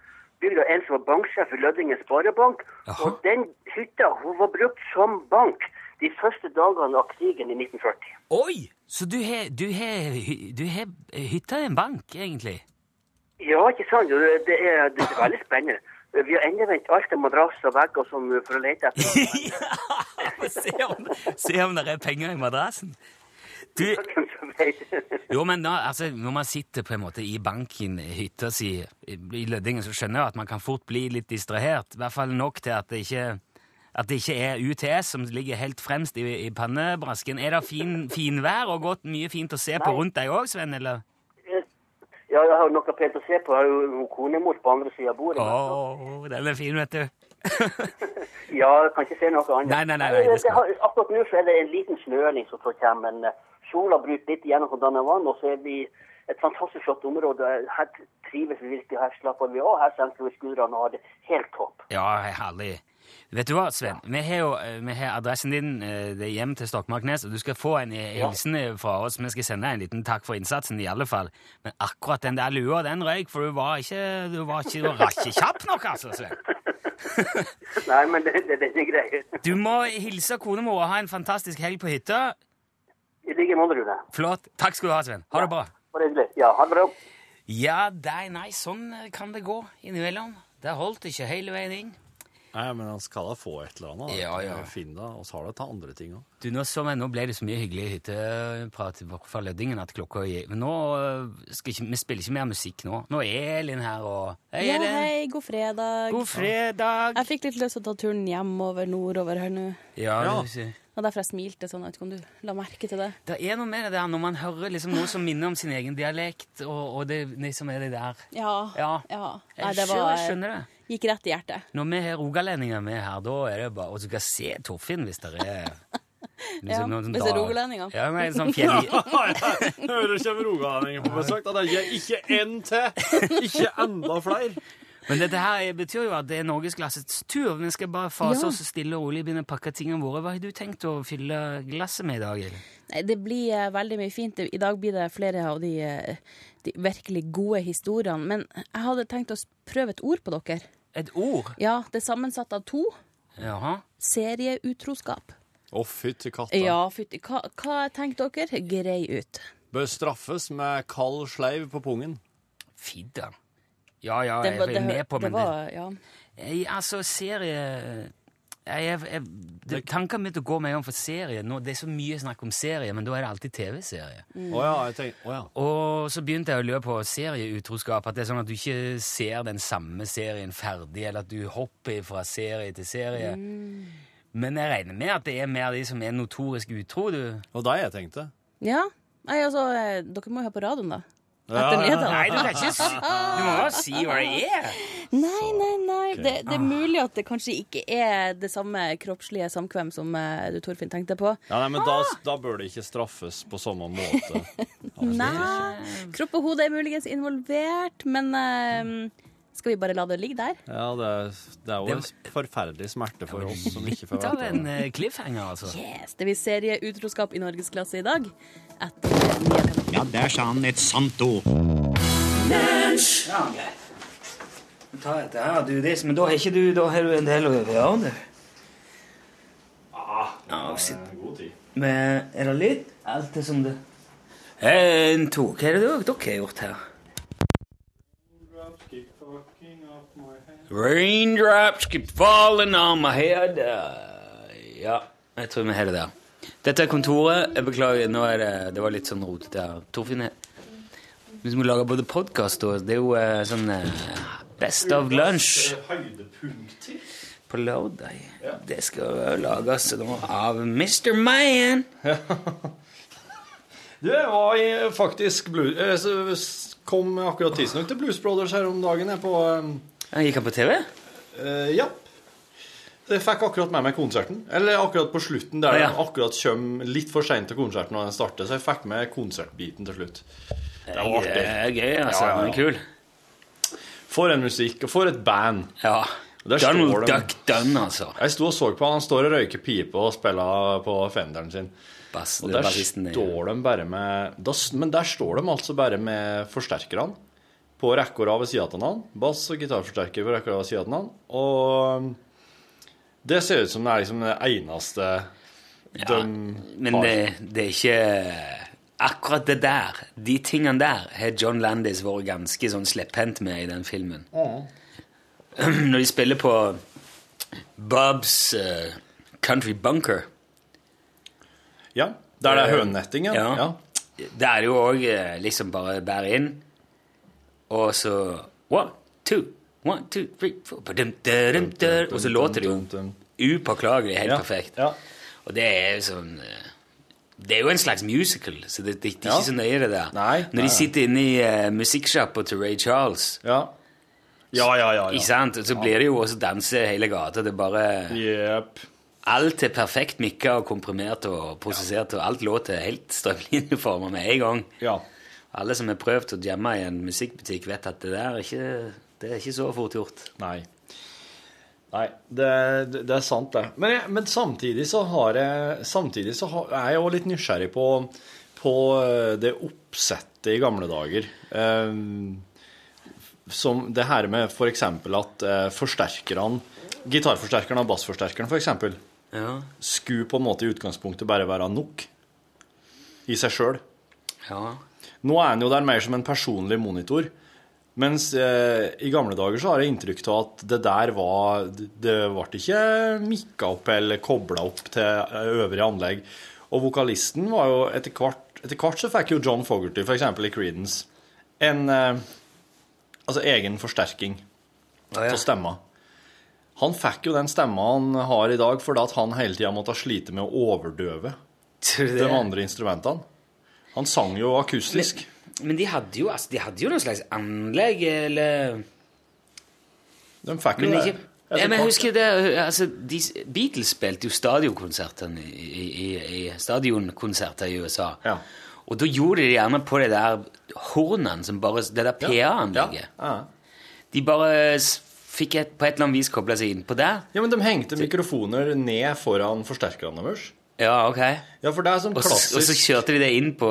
S7: bygd av en som var banksjef i Lødingen sparebank.
S2: Jaha.
S7: Og den hytta hun var brukt som bank de første dagene av krigen i 1940.
S2: Oi! Så du har du har hy- du har hytta i en bank, egentlig?
S7: Ja, ikke sant? Jo, Det er, det er veldig spennende. Vi har endevendt alt av madrasser og vegger og sånn for å lete etter
S2: Få se om, se om det er penger i madrassen. Du,
S7: hvem som vet.
S2: jo, men da, altså, når man sitter på en måte i banken, i hytta si, i i Løddingen, så skjønner jeg at man kan fort bli litt distrahert. I hvert fall nok til at det ikke, at det ikke er UTS som ligger helt fremst i, i pannebrasken. Er det fin, finvær og godt mye fint å se på rundt deg òg, Sven? eller?
S7: Ja, jeg har jo noe pent å se på. Jeg har jo hun konemor på andre siden av bordet.
S2: Å,
S7: men-
S2: den er fin, vet du.
S7: Ja, jeg kan ikke se noe annet. Eh,
S2: Nei, nei, nei, nei, det
S7: det
S2: skal-
S7: har, akkurat nå så er det en liten snøring som får komme, men eh, sola bryter litt igjennom på danner vann, og så er vi et fantastisk flott område. Her trives vi virkelig, her slapper vi av, her senker vi skuldrene og har det helt topp.
S2: Ja, herlig. Vet du hva, Sven? Vi har jo eh, vi har adressen din eh, det er hjem til Stokmarknes, og du skal få en eh, hilsen eh, fra oss. Vi skal sende deg en liten takk for innsatsen, i alle fall. Men akkurat den der lua, den røyk, for du var ikke du var ikke, du var ikke kjapp nok, altså, Sven.
S7: Nei, men det, det, det er greit.
S2: Du må hilse kona mi og ha en fantastisk helg på hytta.
S7: I like måte, Rune.
S2: Flott. Takk skal du ha, Sven. Ha det bra.
S7: Bare hyggelig. Ja, ha det bra.
S2: Ja, nei, nei, sånn eh, kan det gå innimellom. Det holdt ikke hele veien inn.
S3: Nei, men han skal da få et eller annet. da.
S2: Ja, ja.
S3: Finn da, og så har det ta andre ting òg.
S2: Du, nå, så, jeg- nå ble det så mye hyggelig eh, hytteprat fra Lødingen at klokka gikk. Men nå øh, skal ikke, vi spiller ikke mer musikk nå. Nå er Elin her, og Hei,
S8: Ja,
S2: Elin!
S8: hei, god fredag.
S2: God fredag!
S8: Jeg fikk litt lyst til å ta turen hjemover nordover her nå.
S2: Ja,
S3: Ja.
S2: du sier-
S8: Og derfor jeg smilte sånn. Jeg vet ikke om du la merke til det.
S2: Det er noe med det der når man hører liksom noe som minner om sin egen dialekt, og, og det liksom er det der.
S8: Ja.
S2: Ja. Jeg
S8: Nei, det
S2: skjønner-
S8: var
S2: jeg skjønner det.
S8: Gikk rett i hjertet.
S2: Når vi har rogalendinger med her, da er det bare Og du skal se Torfinn hvis det er sånn-
S8: Ja, hvis det er
S2: dag-
S8: rogalendinger.
S2: Ja, nei, sånn fjell...
S3: Hører kommer rogalendinger på besøk. Da det er ikke én til! Ikke enda flere!
S2: Men dette her eh, betyr jo at det er norgesglassets tur. Vi skal bare fase
S8: Ja.
S2: oss stille og rolig begynne å pakke tingene våre. Hva har du tenkt å fylle glasset med i dag? Elin?
S8: Nei, det blir eh, veldig mye fint. I dag blir det flere av de, eh, de virkelig gode historiene. Men jeg hadde tenkt å s- prøve et ord på dere.
S2: Et ord?
S8: Ja, det er sammensatt av to.
S2: Jaha.
S8: Serieutroskap.
S3: Å, fytti katta.
S8: Ja, fytti. Hva, hva tenker dere? Grei ut.
S3: Bør straffes med kald sleiv på pungen.
S2: Fidder. Ja, ja,
S8: Det
S2: jeg
S8: var-
S2: er med på,
S8: det
S2: men det,
S8: var, ja.
S2: jeg, altså, serie jeg, jeg, jeg, det, Tankene mine går meg om for serie nå. Det er så mye snakk om serie, men da er det alltid TV-serie.
S3: Å ja, jeg tenker Å ja.
S2: Og så begynte jeg å lure på serieutroskap. At det er sånn at du ikke ser den samme serien ferdig, eller at du hopper fra serie til serie. Men jeg regner med at det er mer de som er notorisk utro, du.
S3: Og det jeg tenkte.
S8: Ja. Nei, altså, eh, dere må jo høre på radioen, da.
S3: Ja,
S8: Etter middag.
S2: Nei, du kan ikke s- Du må jo si hva det er.
S8: Nei, nei, nei. Det, det er mulig at det kanskje ikke er det samme kroppslige samkvem som eh, du, Torfinn, tenkte på.
S3: Ja, nei, men da, da bør det ikke straffes på samme måte. Absolutt ikke.
S8: Nei. Kropp og hode er muligens involvert, men eh, skal vi bare la det ligge der?
S3: Ja, det, er- det er jo en forferdelig smerte for oss som ikke får
S2: Ta
S3: vite
S2: en
S3: det.
S2: eh, cliffhanger, altså.
S8: Yes, Det blir serieutroskap i norgesklasse i dag. Etter nyhetene.
S5: Ja, der sa han et sant ord.
S2: ta dette her og do this, men da har ikke du, da har du en del å gjøre, du. Ja, sitt. Men er det litt? Alt det som det En, to. Hva er det dere dere har gjort her? Raindrops keep falling on my head. Uh, ja, jeg tror vi har det der. Dette er kontoret. Jeg beklager, nå er det, det var litt sånn rotete her. Torfinn, jeg- hvis vi lager både podkast og Det er jo eh, sånn eh, Best of Lunch på lørdag. Det skal lages nå av Mr. Man.
S3: Du, jeg var i, faktisk blu- eh, så s- Kom akkurat tidsnok til Blues Brothers her om dagen. Jeg på um,
S2: Ja, Gikk han på TV?
S3: eh, Ja. Jeg fikk akkurat med meg konserten. Eller akkurat på slutten, der
S2: Ja.
S3: den akkurat kommer litt for seint til konserten når den starter. Så jeg fikk med konsertbiten til slutt. Det var
S2: Det
S3: artig.
S2: er gøy, altså.
S3: Ja, ja, ja.
S2: Men Kul.
S3: For en musikk, og for et band.
S2: Ja.
S3: Der
S2: Donald
S3: står de.
S2: Duck Dunn, altså.
S3: Jeg sto og så på han. Han står og røyker pipe og spiller på fenderen sin.
S2: Bass,
S3: Og der
S2: bassisten, ja.
S3: står de bare med da, s- Men der står de altså bare med forsterkerne på rekke og rad ved sida av hverandre. Bass og gitarforsterker på rekke og rad ved sida av hverandre. Og det ser ut som det er liksom det eneste de
S2: Men
S3: har.
S2: det, det er ikke eh, Akkurat det der, de tingene der, har John Landis vært ganske sånn slepphendt med i den filmen. Når de spiller på Bobs eh, Country Bunker
S3: Ja. Der det er hønenetting, ja.
S2: Eh, Ja.
S3: ja.
S2: Det er det jo òg liksom bare bær inn, og så One, two, one, two, three, four ba-dum, da-dum, da-dum, Og så låter det jo upåklagelig helt
S3: Ja,
S2: perfekt.
S3: ja.
S2: Og det er jo sånn eh, Det er jo en slags musical, så det, det, det er
S3: Ja.
S2: ikke så nøye, det der.
S3: Nei,
S2: Når
S3: nei.
S2: de sitter inne i uh, musikksjappa til Ray Charles,
S3: Ja, ja, ja. ja,
S2: ikke
S3: ja.
S2: sant? Og så blir det jo også danse hele gata. Det er bare
S3: Jepp.
S2: Alt er perfekt mikka og komprimert og prosessert, og alt låter helt strømlinjeforma med en gang.
S3: Ja.
S2: Alle som har prøvd å jamme i en musikkbutikk, vet at det der er ikke, det er ikke så fort gjort.
S3: Nei. Nei, det, det, det er sant, det. Men, jeg, men samtidig så har jeg Samtidig så har, er jeg jo litt nysgjerrig på, på eh, det oppsettet i gamle dager. Eh, som det her med f.eks. at eh, forsterkerne Gitarforsterkeren og bassforsterkeren f.eks.
S2: Ja.
S3: skulle på en måte i utgangspunktet bare være nok i seg sjøl.
S2: ja.
S3: Nå er han jo der mer som en personlig monitor. Mens eh, i gamle dager så har jeg inntrykk av at det der var Det ble ikke mikka opp eller kobla opp til eh, øvrige anlegg. Og vokalisten var jo etter hvert Etter hvert så fikk jo John Fogerty, f.eks. i Creedence, en eh, altså egen forsterking
S2: Å, ja.
S3: av stemma. Han fikk jo den stemma han har i dag, fordi at han hele tida måtte slite med å overdøve
S2: Tror du
S3: de
S2: det?
S3: andre instrumentene. Han sang jo akustisk.
S2: Men de hadde jo, altså, de hadde jo noe slags anlegg, eller
S3: De fikk jo
S2: Men
S3: det.
S2: ikke ja, men jeg husker det, altså, de, Beatles spilte jo stadionkonserter i, i, i, i- stadionkonserter i USA.
S3: Ja.
S2: Og da gjorde de det gjerne på det der hornene som bare Det der PA-anlegget.
S3: Ja.
S2: De bare s- fikk et, på et eller annet vis kobla seg innpå der.
S3: ja, men de hengte mikrofoner ned foran forsterkerne deres.
S2: Ja, ok.
S3: Ja, for det er sånn
S2: Og så, og så
S3: klassisk
S2: kjørte de det inn på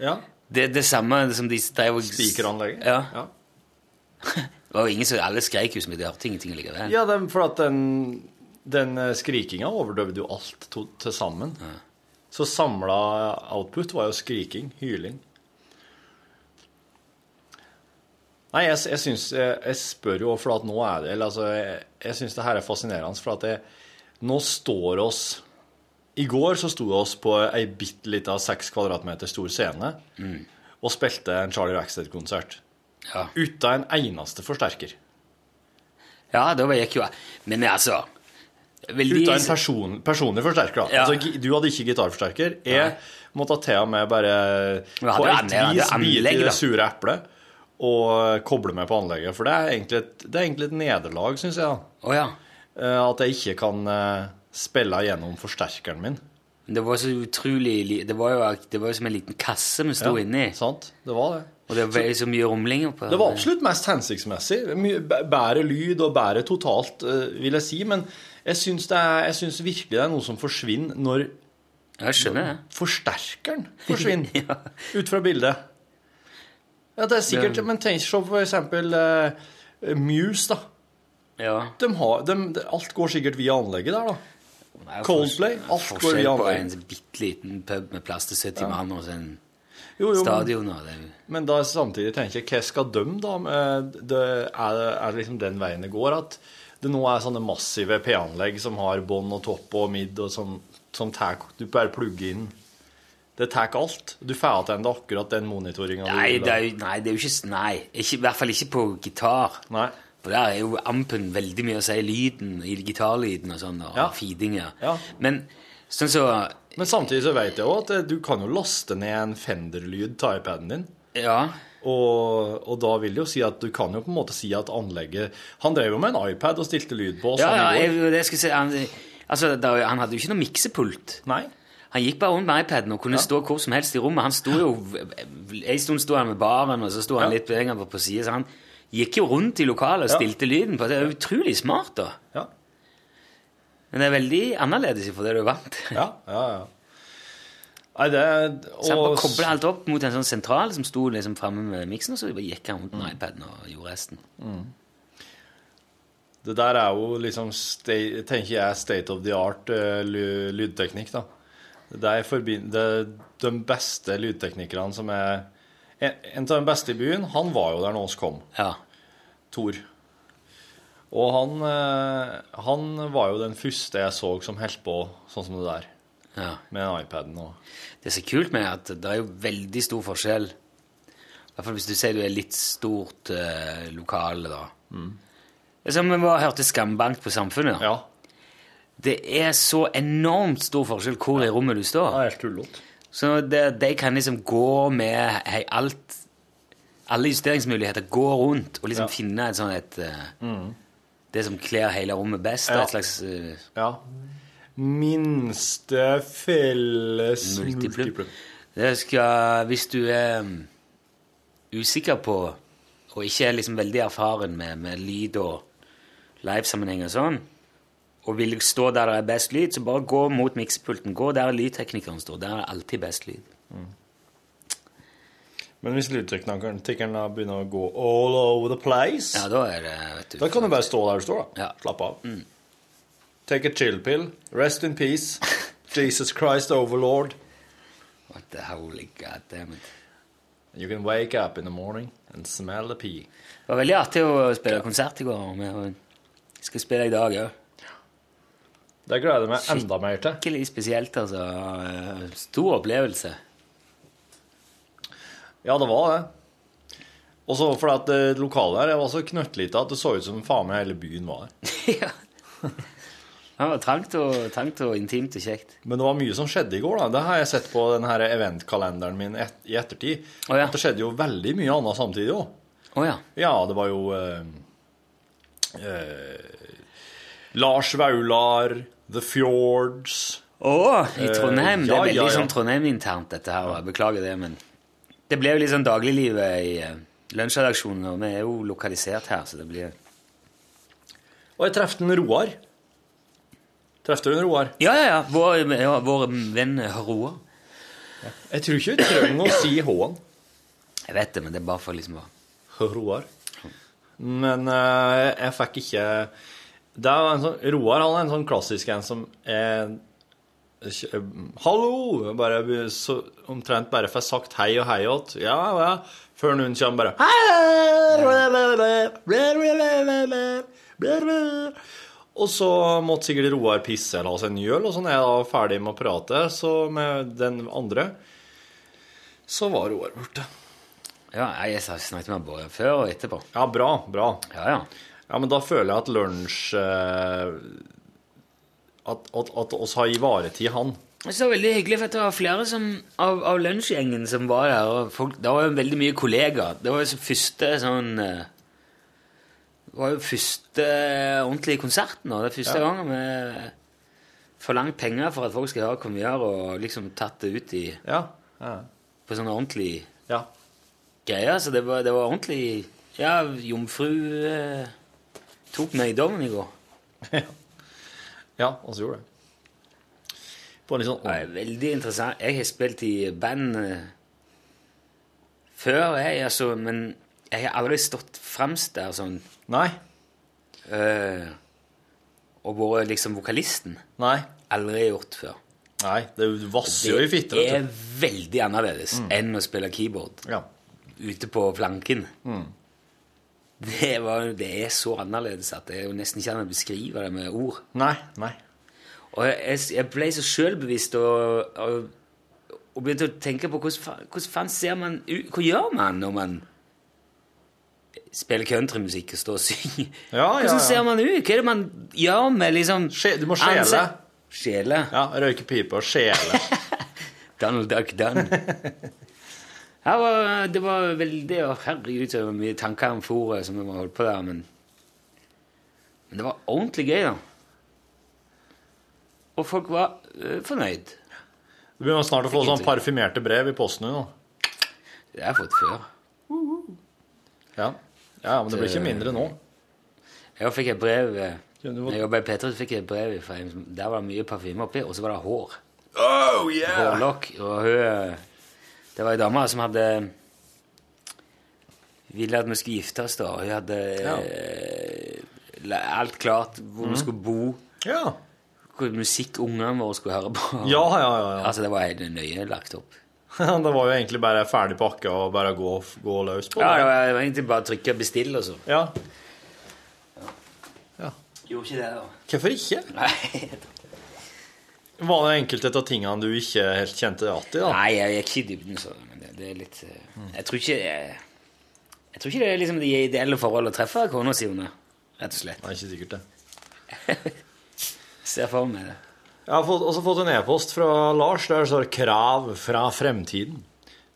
S3: ja,
S2: Det, det samme som de drev og
S3: spikeranlegget.
S2: Ja.
S3: ja.
S2: Det var jo ingen som Alle skreik jo som de hørte ingenting likevel.
S3: Ja, dem- for at den, den eh, skrikinga overdøvde jo alt to, til sammen. Så samla output var jo skriking, hyling. Nei, jeg, jeg syns jeg, jeg spør jo for at nå er det Eller altså, jeg, jeg syns det her er fascinerende, for at det, nå står oss I går så sto vi oss på ei bitte lita seks kvadratmeter stor scene og spilte en Charlie Rackstead-konsert.
S2: Ja.
S3: Uten en eneste forsterker.
S2: ja, da var jeg ikke jo Men altså veldig,
S3: Uten en person, personlig forsterker, da.
S2: Ja.
S3: Altså, gi- du hadde ikke gitarforsterker. Jeg
S2: Nei.
S3: måtte til og med bare
S2: Men hadde
S3: på
S2: jo
S3: et
S2: anlegg, hadde jo
S3: vis bite
S2: anlegg,
S3: i
S2: da.
S3: det sure eplet og koble meg på anlegget. For det er egentlig et, det er egentlig et nederlag, syns jeg, da.
S2: Å ja.
S3: Eh, at jeg ikke kan eh, spille gjennom forsterkeren min.
S2: Men det var så utrolig li- Det var jo, det var jo som en liten kasse vi sto inni.
S3: Sant? Det var det.
S2: Og det var jo så mye rumlinger på
S3: Det var absolutt mest hensiktsmessig. Mye bæ- Bedre lyd og bedre totalt, eh, vil jeg si. Men jeg syns, det er, jeg syns virkelig det er noe som forsvinner når
S2: Ja, Jeg skjønner det.
S3: Forsterkeren forsvinner
S2: Ja.
S3: ut fra bildet. Ja, det er sikkert, Men tenk så for eksempel eh, eh, Muse, da.
S2: Ja.
S3: De har, de, de- alt går sikkert via anlegget der, da.
S2: Det er
S3: Coldplay,
S2: forskjell-
S3: alt går
S2: Forskjell
S3: via
S2: på
S3: anlegget.
S2: en bitte liten pub med plass til 70 mann og så en
S3: Jo, jo, men,
S2: stadion. Og det.
S3: men da samtidig tenker jeg, hva skal de, da? Eh, Det, er, det- er det liksom den veien det går? At det nå er sånne massive P-anlegg som har bånd og topp og midd, og som, som tar, du bare plugger inn. Det tar alt. Du får tilbake akkurat den monitoringa du
S2: Nei,
S3: vil
S2: det
S3: ha.
S2: er jo, nei, det er jo ikke s- Nei. Ikke, I hvert fall ikke på gitar.
S3: Nei.
S2: For der er jo ampen veldig mye å si. Lyden i gitarlyden og sånn. Og
S3: Ja.
S2: fidinger.
S3: Ja.
S2: Men sånn så
S3: Men samtidig så vet jeg òg at eh, du kan jo laste ned en Fender-lyd til iPaden din.
S2: Ja.
S3: Og, og da vil det jo si at du kan jo på en måte si at anlegget Han drev jo med en iPad og stilte lyd på oss.
S2: ja, ja
S3: han i Sånn går.
S2: jeg, det skal jeg si, han, altså, der, han hadde jo ikke noe miksepult.
S3: Nei.
S2: Han gikk bare rundt med iPaden og kunne stå hvor som helst i rommet. Han sto jo, En stund sto han ved baren, og så sto han
S3: Ja.
S2: litt lenger på siden. Så han gikk jo rundt i lokalet og
S3: Ja.
S2: stilte lyden på. Det er jo utrolig smart, da.
S3: Ja.
S2: Men det er veldig annerledes for det du er vant til.
S3: Ja, ja, ja. Nei, det er
S2: Så han bare
S3: og-
S2: koblet alt opp mot en sånn sentral som sto liksom framme med miksen, og så bare gikk han rundt
S3: Mm.
S2: med iPaden og gjorde resten.
S3: Det der er jo liksom, sta- tenker jeg, state of the art eh, ly- lydteknikk, da. Det er forbind- det, de beste lydteknikerne som er En en av de beste i byen, han var jo der når oss kom.
S2: Ja.
S3: Thor. Og han, eh, han var jo den første jeg så som holdt på sånn som det der.
S2: ja.
S3: Med den iPaden og
S2: Det som er kult med at det er jo veldig stor forskjell. I hvert fall hvis du sier du er litt stort eh, lokale, da. Det er som vi bare hørte Skambank på
S3: Mm.
S2: Samfunnet.
S3: Ja.
S2: Det er så enormt stor forskjell hvor i rommet du står.
S3: helt tullete.
S2: Så det, de kan liksom gå med hei, alt Alle justeringsmuligheter gå rundt og
S3: Ja.
S2: liksom
S3: Mm.
S2: finne et sånn et eh, Det som kler hele rommet best.
S3: Ja.
S2: Et slags eh,
S3: Ja. Minste felles
S2: multiplum. Det skal Hvis du er mm, usikker på, og ikke er liksom veldig erfaren med, med lyd og livesammenheng og sånn, og vil stå der det er best lyd, så bare gå mot miksepulten. Gå der lydteknikeren står. Der er det alltid best lyd.
S3: Men hvis lydteknikeren tikkeren da begynner å gå all over the place,
S2: Ja, da er det vet du.
S3: da kan du bare stå der du står, da.
S2: Ja. Mm.
S3: Slapp av. Take a chill pill. Rest in peace. Jesus Christ overlord.
S2: What the holy god damn it.
S3: You can wake up in the morning and smell the pee.
S2: Det var veldig artig å spille konsert i går. Men jeg skal spille i dag òg.
S3: Det gleder jeg meg enda mer til.
S2: Skikkelig spesielt, altså. Eh, Stor opplevelse.
S3: Ja, det var det. Og så fordi at det lokalet her var så knøttlite at det så ut som faen meg hele byen var der.
S2: ja. Det var trangt og, trangt og intimt og kjekt.
S3: Men det var mye som skjedde i går, da. Det har jeg sett på den her eventkalenderen min et i ettertid.
S2: Å, ja.
S3: Det skjedde jo veldig mye annet samtidig òg.
S2: Å ja.
S3: Ja, det var jo eh, eh, Lars Vaular, The Fjords
S2: Å, i Trondheim.
S3: Eh,
S2: det
S3: ja,
S2: er veldig
S3: ja, ja.
S2: sånn Trondheim-internt, dette her. og jeg Beklager det, men det ble jo litt sånn dagliglivet i eh, lunsjredaksjonen, og vi er jo lokalisert her, så det blir
S3: Og jeg trefte en Roar. Trefte du en Roar?
S2: Ja, ja, ja. Vår, ja, vår venn Roar.
S3: Jeg tror ikke vi trenger å si H-en.
S2: Jeg vet det, men det er bare for liksom å
S3: Roar. Men eh, jeg fikk ikke det er jo en sånn, Roar han er en sånn klassisk en som er ikke- Hallo! Bare, be- så, omtrent bare får sagt hei og hei åt. Ja, ja. Før noen kommer bare «Hei!» Og så måtte sikkert Roar pisse eller ha seg en øl, og så når jeg da var ferdig med å prate så med den andre, så var Roar borte.
S2: Ja, jeg har snakket med både før og etterpå.
S3: Ja, bra. Bra.
S2: Ja, ja.
S3: Ja, men da føler jeg at lunsj eh, At, at, at oss har ivaretid han.
S2: Jeg synes det var veldig hyggelig, for det var flere som, av, av lunsjgjengen som var der. og folk, Det var jo veldig mye kollegaer. Det var jo så første sånn eh, Det var jo første ordentlige konserten. Og det er første gangen vi forlangt penger for at folk skal høre hva vi gjør, og liksom tatt det ut i,
S3: Ja. Ja.
S2: på sånne ordentlige
S3: ja.
S2: greier. Så det var, det var ordentlig Ja, jomfru eh, tok meg i dommen i går.
S3: ja og så gjorde det. På en litt
S2: Det
S3: sånn
S2: er veldig interessant. Jeg har spilt i band eh, før, jeg, altså, men jeg har aldri stått fremst der sånn
S3: Nei.
S2: eh, og vært liksom vokalisten.
S3: Nei.
S2: Aldri gjort før.
S3: Nei. Det vasser jo i fitta.
S2: Det er veldig annerledes
S3: Mm.
S2: enn å spille keyboard
S3: Ja.
S2: ute på flanken.
S3: Mm.
S2: Det, var, det er så annerledes at det er jo nesten ikke an å beskrive det med ord.
S3: Nei. Nei.
S2: Og jeg, jeg- jeg ble så selvbevisst og, og, og begynte å tenke på hvordan, fa- hvordan faen ser man ut Hva gjør man når man spiller countrymusikk og står og synger?
S3: Ja, ja, ja.
S2: Hvordan ser man ut? Hva er det man gjør med liksom
S3: Skje- du må skjele.
S2: ansikt- Skjele.
S3: Ja, røyke pipe og skjele.
S2: Donald Duck Dunn. Her var, det var veldig å, Herregud, så mye tanker om fôret som vi holdt på der, men Men det var ordentlig gøy, da. Og folk var øh, fornøyd.
S3: Du begynner snart å få sånn parfymerte brev i posten nå.
S2: Det har jeg fått før.
S3: Ja. ja, men det blir ikke mindre nå.
S2: Jeg fikk et brev eh,
S3: Ja, du var-
S2: når jeg jobbet i P3, så fikk jeg et brev fra en som Der var det mye parfyme oppi, og så var det hår.
S3: Oh, yeah!
S2: Hårlokk. Og hun eh, Det var ei dame som hadde ville at vi skulle gifte oss, da. Hun hadde
S3: Ja. Mhm.
S2: eh, la- alt klart hvor vi skulle bo,
S3: Ja,
S2: hvor musikk ungene våre skulle høre på.
S3: ja, ja. ja, ja.
S2: Altså, det var helt nøye lagt opp.
S3: Det var jo egentlig bare ferdig pakka og bare gå, gå løs på
S2: Ja, det
S3: det.
S2: var, det var egentlig bare å trykke 'bestill', og så
S3: Ja.
S2: Gjorde ikke det, da.
S3: Hvorfor ikke?
S2: Nei,
S3: Var det enkelte av tingene du ikke helt kjente igjen i? da?
S2: Nei, jeg gikk ikke i dybden, så men det, det er litt eh, Jeg tror ikke Jeg, jeg tror ikke det er liksom de ideelle forhold å treffe kona si under, rett og slett.
S3: Nei, ikke sikkert det.
S2: Ser for meg det.
S3: Jeg har fått, også fått en e-post fra Lars der det står 'Krav fra fremtiden'.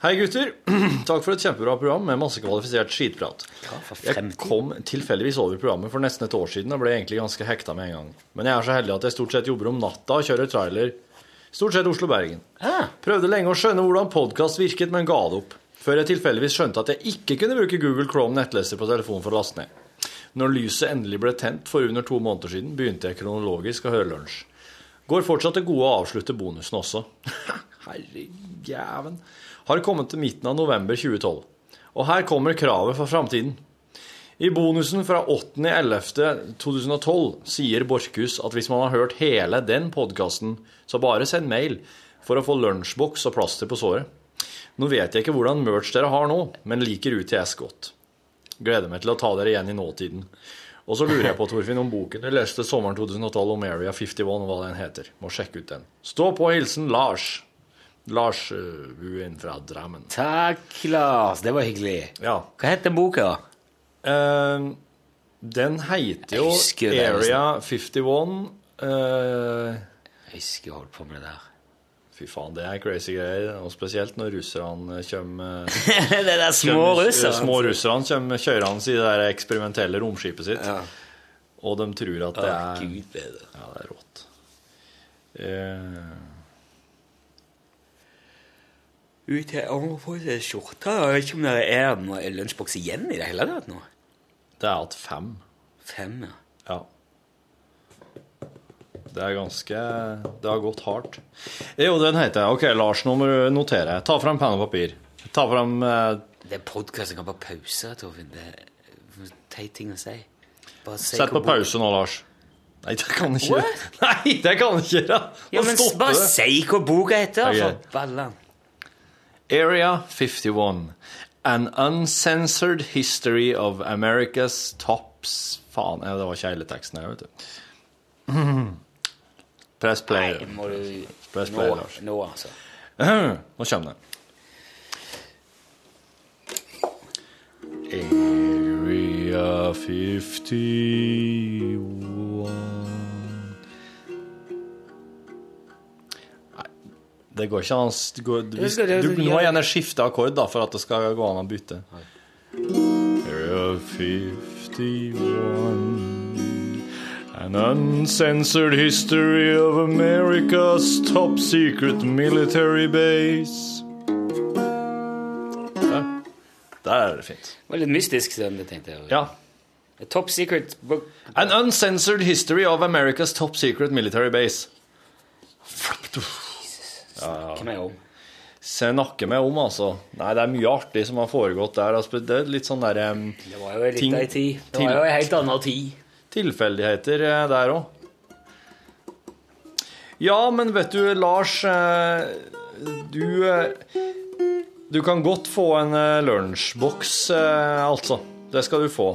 S3: Hei, gutter. Takk for et kjempebra program med masse kvalifisert skitprat.
S2: fra
S3: Jeg
S2: fremtiden?
S3: kom tilfeldigvis over programmet for nesten et år siden og ble egentlig ganske hekta med en gang. Men jeg er så heldig at jeg stort sett jobber om natta og kjører trailer. Stort sett Oslo-Bergen. Prøvde lenge å skjønne hvordan podkast virket, men ga det opp. Før jeg tilfeldigvis skjønte at jeg ikke kunne bruke Google Chrome nettleser på telefonen for å laste ned. Når lyset endelig ble tent for under to måneder siden, begynte jeg kronologisk å høre lunsj. Går fortsatt til gode å avslutte bonusen også. Herrejæven. Har kommet til midten av november 2012. Og her kommer kravet for framtiden. I bonusen fra 8.11.2012 sier Borchhus at hvis man har hørt hele den podkasten, så bare send mail for å få lunsjboks og plaster på såret. Nå vet jeg ikke hvordan merch dere har nå, men liker UTS godt. Gleder meg til å ta dere igjen i nåtiden. Og så lurer jeg på, Torfinn, om boken du leste sommeren 2012 om Area 51, hva den heter. Må sjekke ut den. Stå på, hilsen Lars. Lars uh, Buen fra Drammen.
S2: Takk, Lars. Det var hyggelig.
S3: Ja.
S2: Hva heter boka?
S3: eh, den heter jo
S2: Jeg husker det,
S3: Area 51 eh,
S2: Jeg husker jeg holdt på med det der.
S3: Fy faen, det er crazy greier. Og spesielt når russerne kommer
S2: det der små
S3: Kjem-
S2: russerne.
S3: Små russerne kommer kjørende i det der eksperimentelle romskipet sitt. Og de tror at det
S2: Å,
S3: er
S2: Gud bedre.
S3: Ja, det er rått. Eh,
S2: Ut her, jeg må få seg skjorte. Jeg vet ikke om det er noe lunsjboks igjen i det hele tatt nå.
S3: det er at fem.
S2: Fem, ja.
S3: Ja. Det er ganske Det har gått hardt. Jo, den heter jeg. Ok, Lars, nå må du notere. Ta fram penn og papir. Ta fram eh,
S2: Det er podkast. Jeg kan bare pause, Torfinn. Det er teit ting å si. Bare si
S3: Sett
S2: hvor
S3: på
S2: boka-
S3: pause nå, Lars. Nei, det kan jeg ikke.
S2: What?
S3: Nei, det kan jeg ikke. Da,
S2: Ja,
S3: Da
S2: men
S3: stopper
S2: bare
S3: det.
S2: si hva boka heter,
S3: Ok.
S2: for ballan.
S3: Area 51. An uncensored history of America's tops Faen, ja, det var ikke hele teksten her, vet du. Press play.
S2: Nei, må du
S3: Press
S2: nå,
S3: play, Lars.
S2: nå, altså.
S3: Nå kommer det. Area 51 Nei, Det går ikke an å s- det går, hvis,
S2: skal- det-
S3: du, du må gjerne skifte akkord da, for at det skal gå an å bytte. Area 51 An uncensored history of America's top secret military base. Der. Der er det fint.
S2: Det var litt mystisk, sånn, det tenkte jeg.
S3: Ja.
S2: A Top secret book.
S3: An uncensored history of America's top secret military base.
S2: Hvem er jeg om?
S3: snakke med om, altså. Nei, det er mye artig som har foregått der. Altså, det er litt sånn derre
S2: Det var jo ei
S3: Ting-
S2: lita tid. Det
S3: til-
S2: var jo ei helt anna tid.
S3: tilfeldigheter eh, der òg. Ja, men vet du, Lars eh, Du eh, Du kan godt få en eh, lunsjboks, eh, altså. Det skal du få.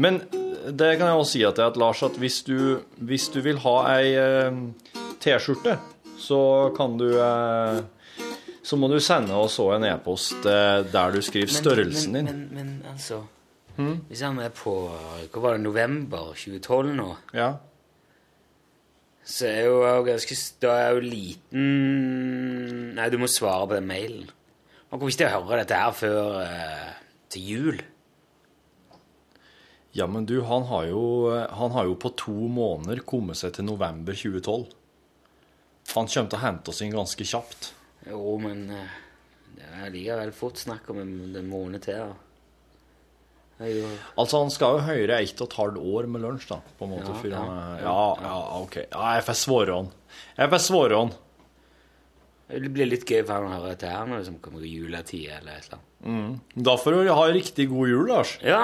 S3: Men det kan jeg også si til deg, at Lars, at hvis du, hvis du vil ha ei eh, T-skjorte, så kan du eh, Så må du sende oss også en e-post eh, der du skriver størrelsen din.
S2: men,
S3: Hmm?
S2: Men, men, altså Hvis han er på Hva var det, november 2012 nå,
S3: Ja.
S2: så er jo jeg ganske s- Da er jeg jo liten Nei, du må svare på den mailen. Man kommer ikke til å høre dette her før eh, til jul.
S3: Ja, men du, han har, jo, han har jo på to måneder kommet seg til november 2012. Han kommer til å hente oss inn ganske kjapt.
S2: Jo, men eh, det er likevel fort snakk om en, en måned til. da. Det er jo
S3: Altså, han skal jo høyere ett og et halvt år med lunsj, da, på en måte.
S2: Ja,
S3: før
S2: ja,
S3: han er- ja, ja, ok. Ja, jeg får svare han. Jeg får svare han.
S2: Det blir litt gøy for han å høre dette her når det som kommer i juletid eller et eller annet.
S3: Da får du ha riktig god jul, Lars.
S2: Ja,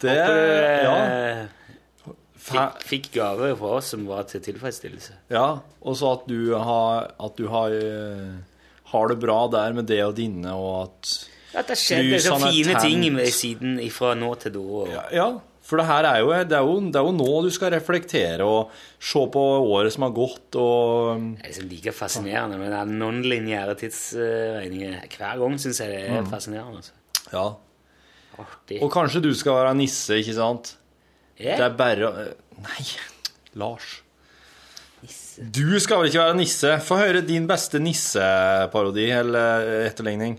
S3: Det,
S2: eh,
S3: ja, fa-
S2: fikk, fikk gave fra oss som var til tilfredsstillelse.
S3: ja. Og så at du, har, at du har, eh, har det bra der med det og dine, og at
S2: At det skjedde så
S3: Lysene er
S2: fine ting
S3: tent.
S2: med siden ifra nå til da. og-
S3: Ja, ja, for det her er jo, det er jo, det er jo nå du skal reflektere og se på året som har gått, og um,
S2: Det er liksom like fascinerende med den non-lineære tidsregningen. Hver gang syns jeg det er fascinerende. altså.
S3: Mm. ja.
S2: Artig.
S3: Og kanskje du skal være nisse, ikke sant?
S2: Ja,
S3: Det er bare å eh, Nei, Lars. Du skal vel ikke være nisse? Få høre din beste nisseparodi eller eh, etterligning.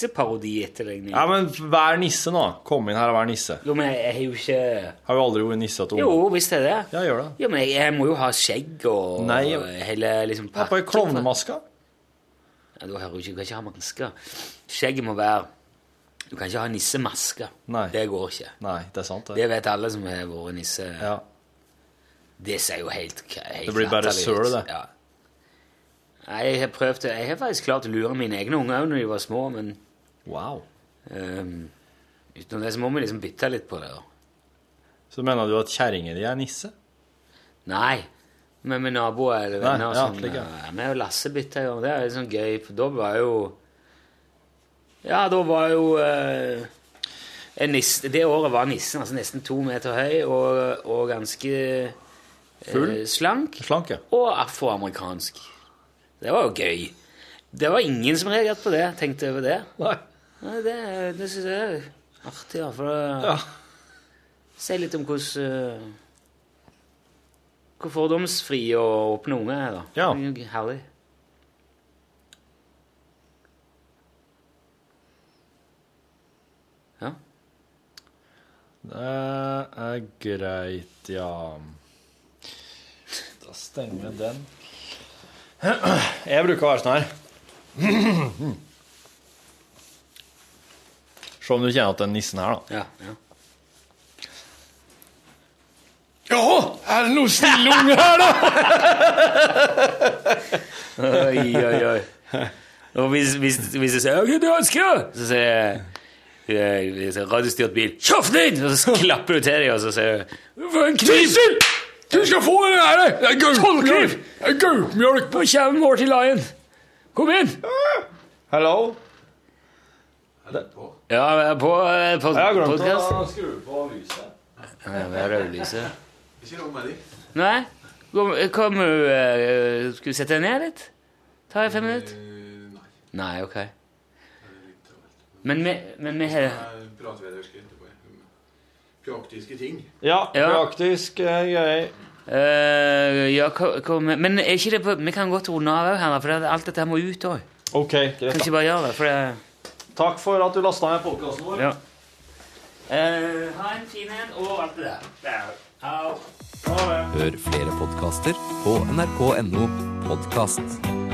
S2: Nisseparodi-etterligning.
S3: Ja, men vær nisse nå. Kom inn her og vær nisse.
S2: Jo, men jeg jeg har jo ikke
S3: Har jo aldri vært nisse til ungdom.
S2: Jo, visst er det.
S3: Ja, gjør det.
S2: Jo, men jeg, jeg må jo ha skjegg og
S3: Nei,
S2: og hele liksom
S3: Ha på ei klovnemaske.
S2: Ja, da hører du ikke, du kan ikke ha masker. Skjegget må være Du kan ikke ha nissemaske.
S3: Nei.
S2: Det går ikke.
S3: Nei, det er sant, det.
S2: Det vet alle som har vært nisse.
S3: Ja.
S2: Det ser jo helt, helt
S3: Det blir bare
S2: latterlig ut.
S3: søl, det.
S2: Ja. Nei, Jeg har prøvd det. Jeg har faktisk klart å lure mine egne unger òg når de var små, men
S3: Wow.
S2: ehm, utenom det så må vi liksom bytte litt på det. da.
S3: Så mener du at kjerringa di er nisse?
S2: Nei, men med naboer eller venner
S3: Nei,
S2: og
S3: ja,
S2: sånn.
S3: slik, ja.
S2: ja. Vi og Lasse bytta jo, det er litt sånn gøy, for da var jo Ja, da var jo eh, en nisse, Det året var nissen altså nesten to meter høy og, og ganske eh,
S3: Full?
S2: slank.
S3: Slank, ja.
S2: Og afroamerikansk. Det var jo gøy. Det var ingen som reagerte på det, tenkte over det.
S3: Nei.
S2: Nei, det, det syns jeg er artig, da, for det
S3: Ja.
S2: sier litt om hvordan eh, Hvor fordomsfrie og åpne unge er, da.
S3: Ja.
S2: Det er jo Herlig. Ja.
S3: Det er greit, ja. Da stenger vi den. Jeg bruker å være sånn her. Se om du kjenner at den nissen her, da.
S2: ja, ja.
S3: Jaha, er det noen snille unge her, da?
S2: Oi, oi, oi. Og hvis, hvis, hvis jeg sier 'Hva du ønsker?' så sier jeg eh, hvis jeg har radiostyrt bil 'Kjøp den!' Og så klapper du til dem, og så sier du 'Få en kniv!' Du skal få den her! Tollkniv! Gaupmjølk! Nå kommer Morty Lion. Kom inn!
S3: Hello?
S2: Ja, jeg er på, eh, på
S3: Jeg har glemt
S2: podcast.
S3: å skru på lyset.
S2: Ja, det er rødlyset. Nei? Kom, kom eh, Skal du sette deg ned litt? Tar jeg fem minutter? Nei. Nei, ok. Men vi, men vi har
S9: Praktiske ting.
S3: Ja,
S2: Ja.
S3: praktisk eh, gøy.
S2: Eh, ja, hva- hva med- men er ikke det på, vi kan godt runde av her, for det, alt dette her må ut òg.
S3: OK,
S2: Kan
S3: greit.
S2: ikke bare gjøre det. For det
S3: Takk for at du lasta ned podkasten vår.
S2: ja. Eh, ha en fin en, og alt det der. der. Ha det.
S10: Hør flere podkaster på nrk.no podkast.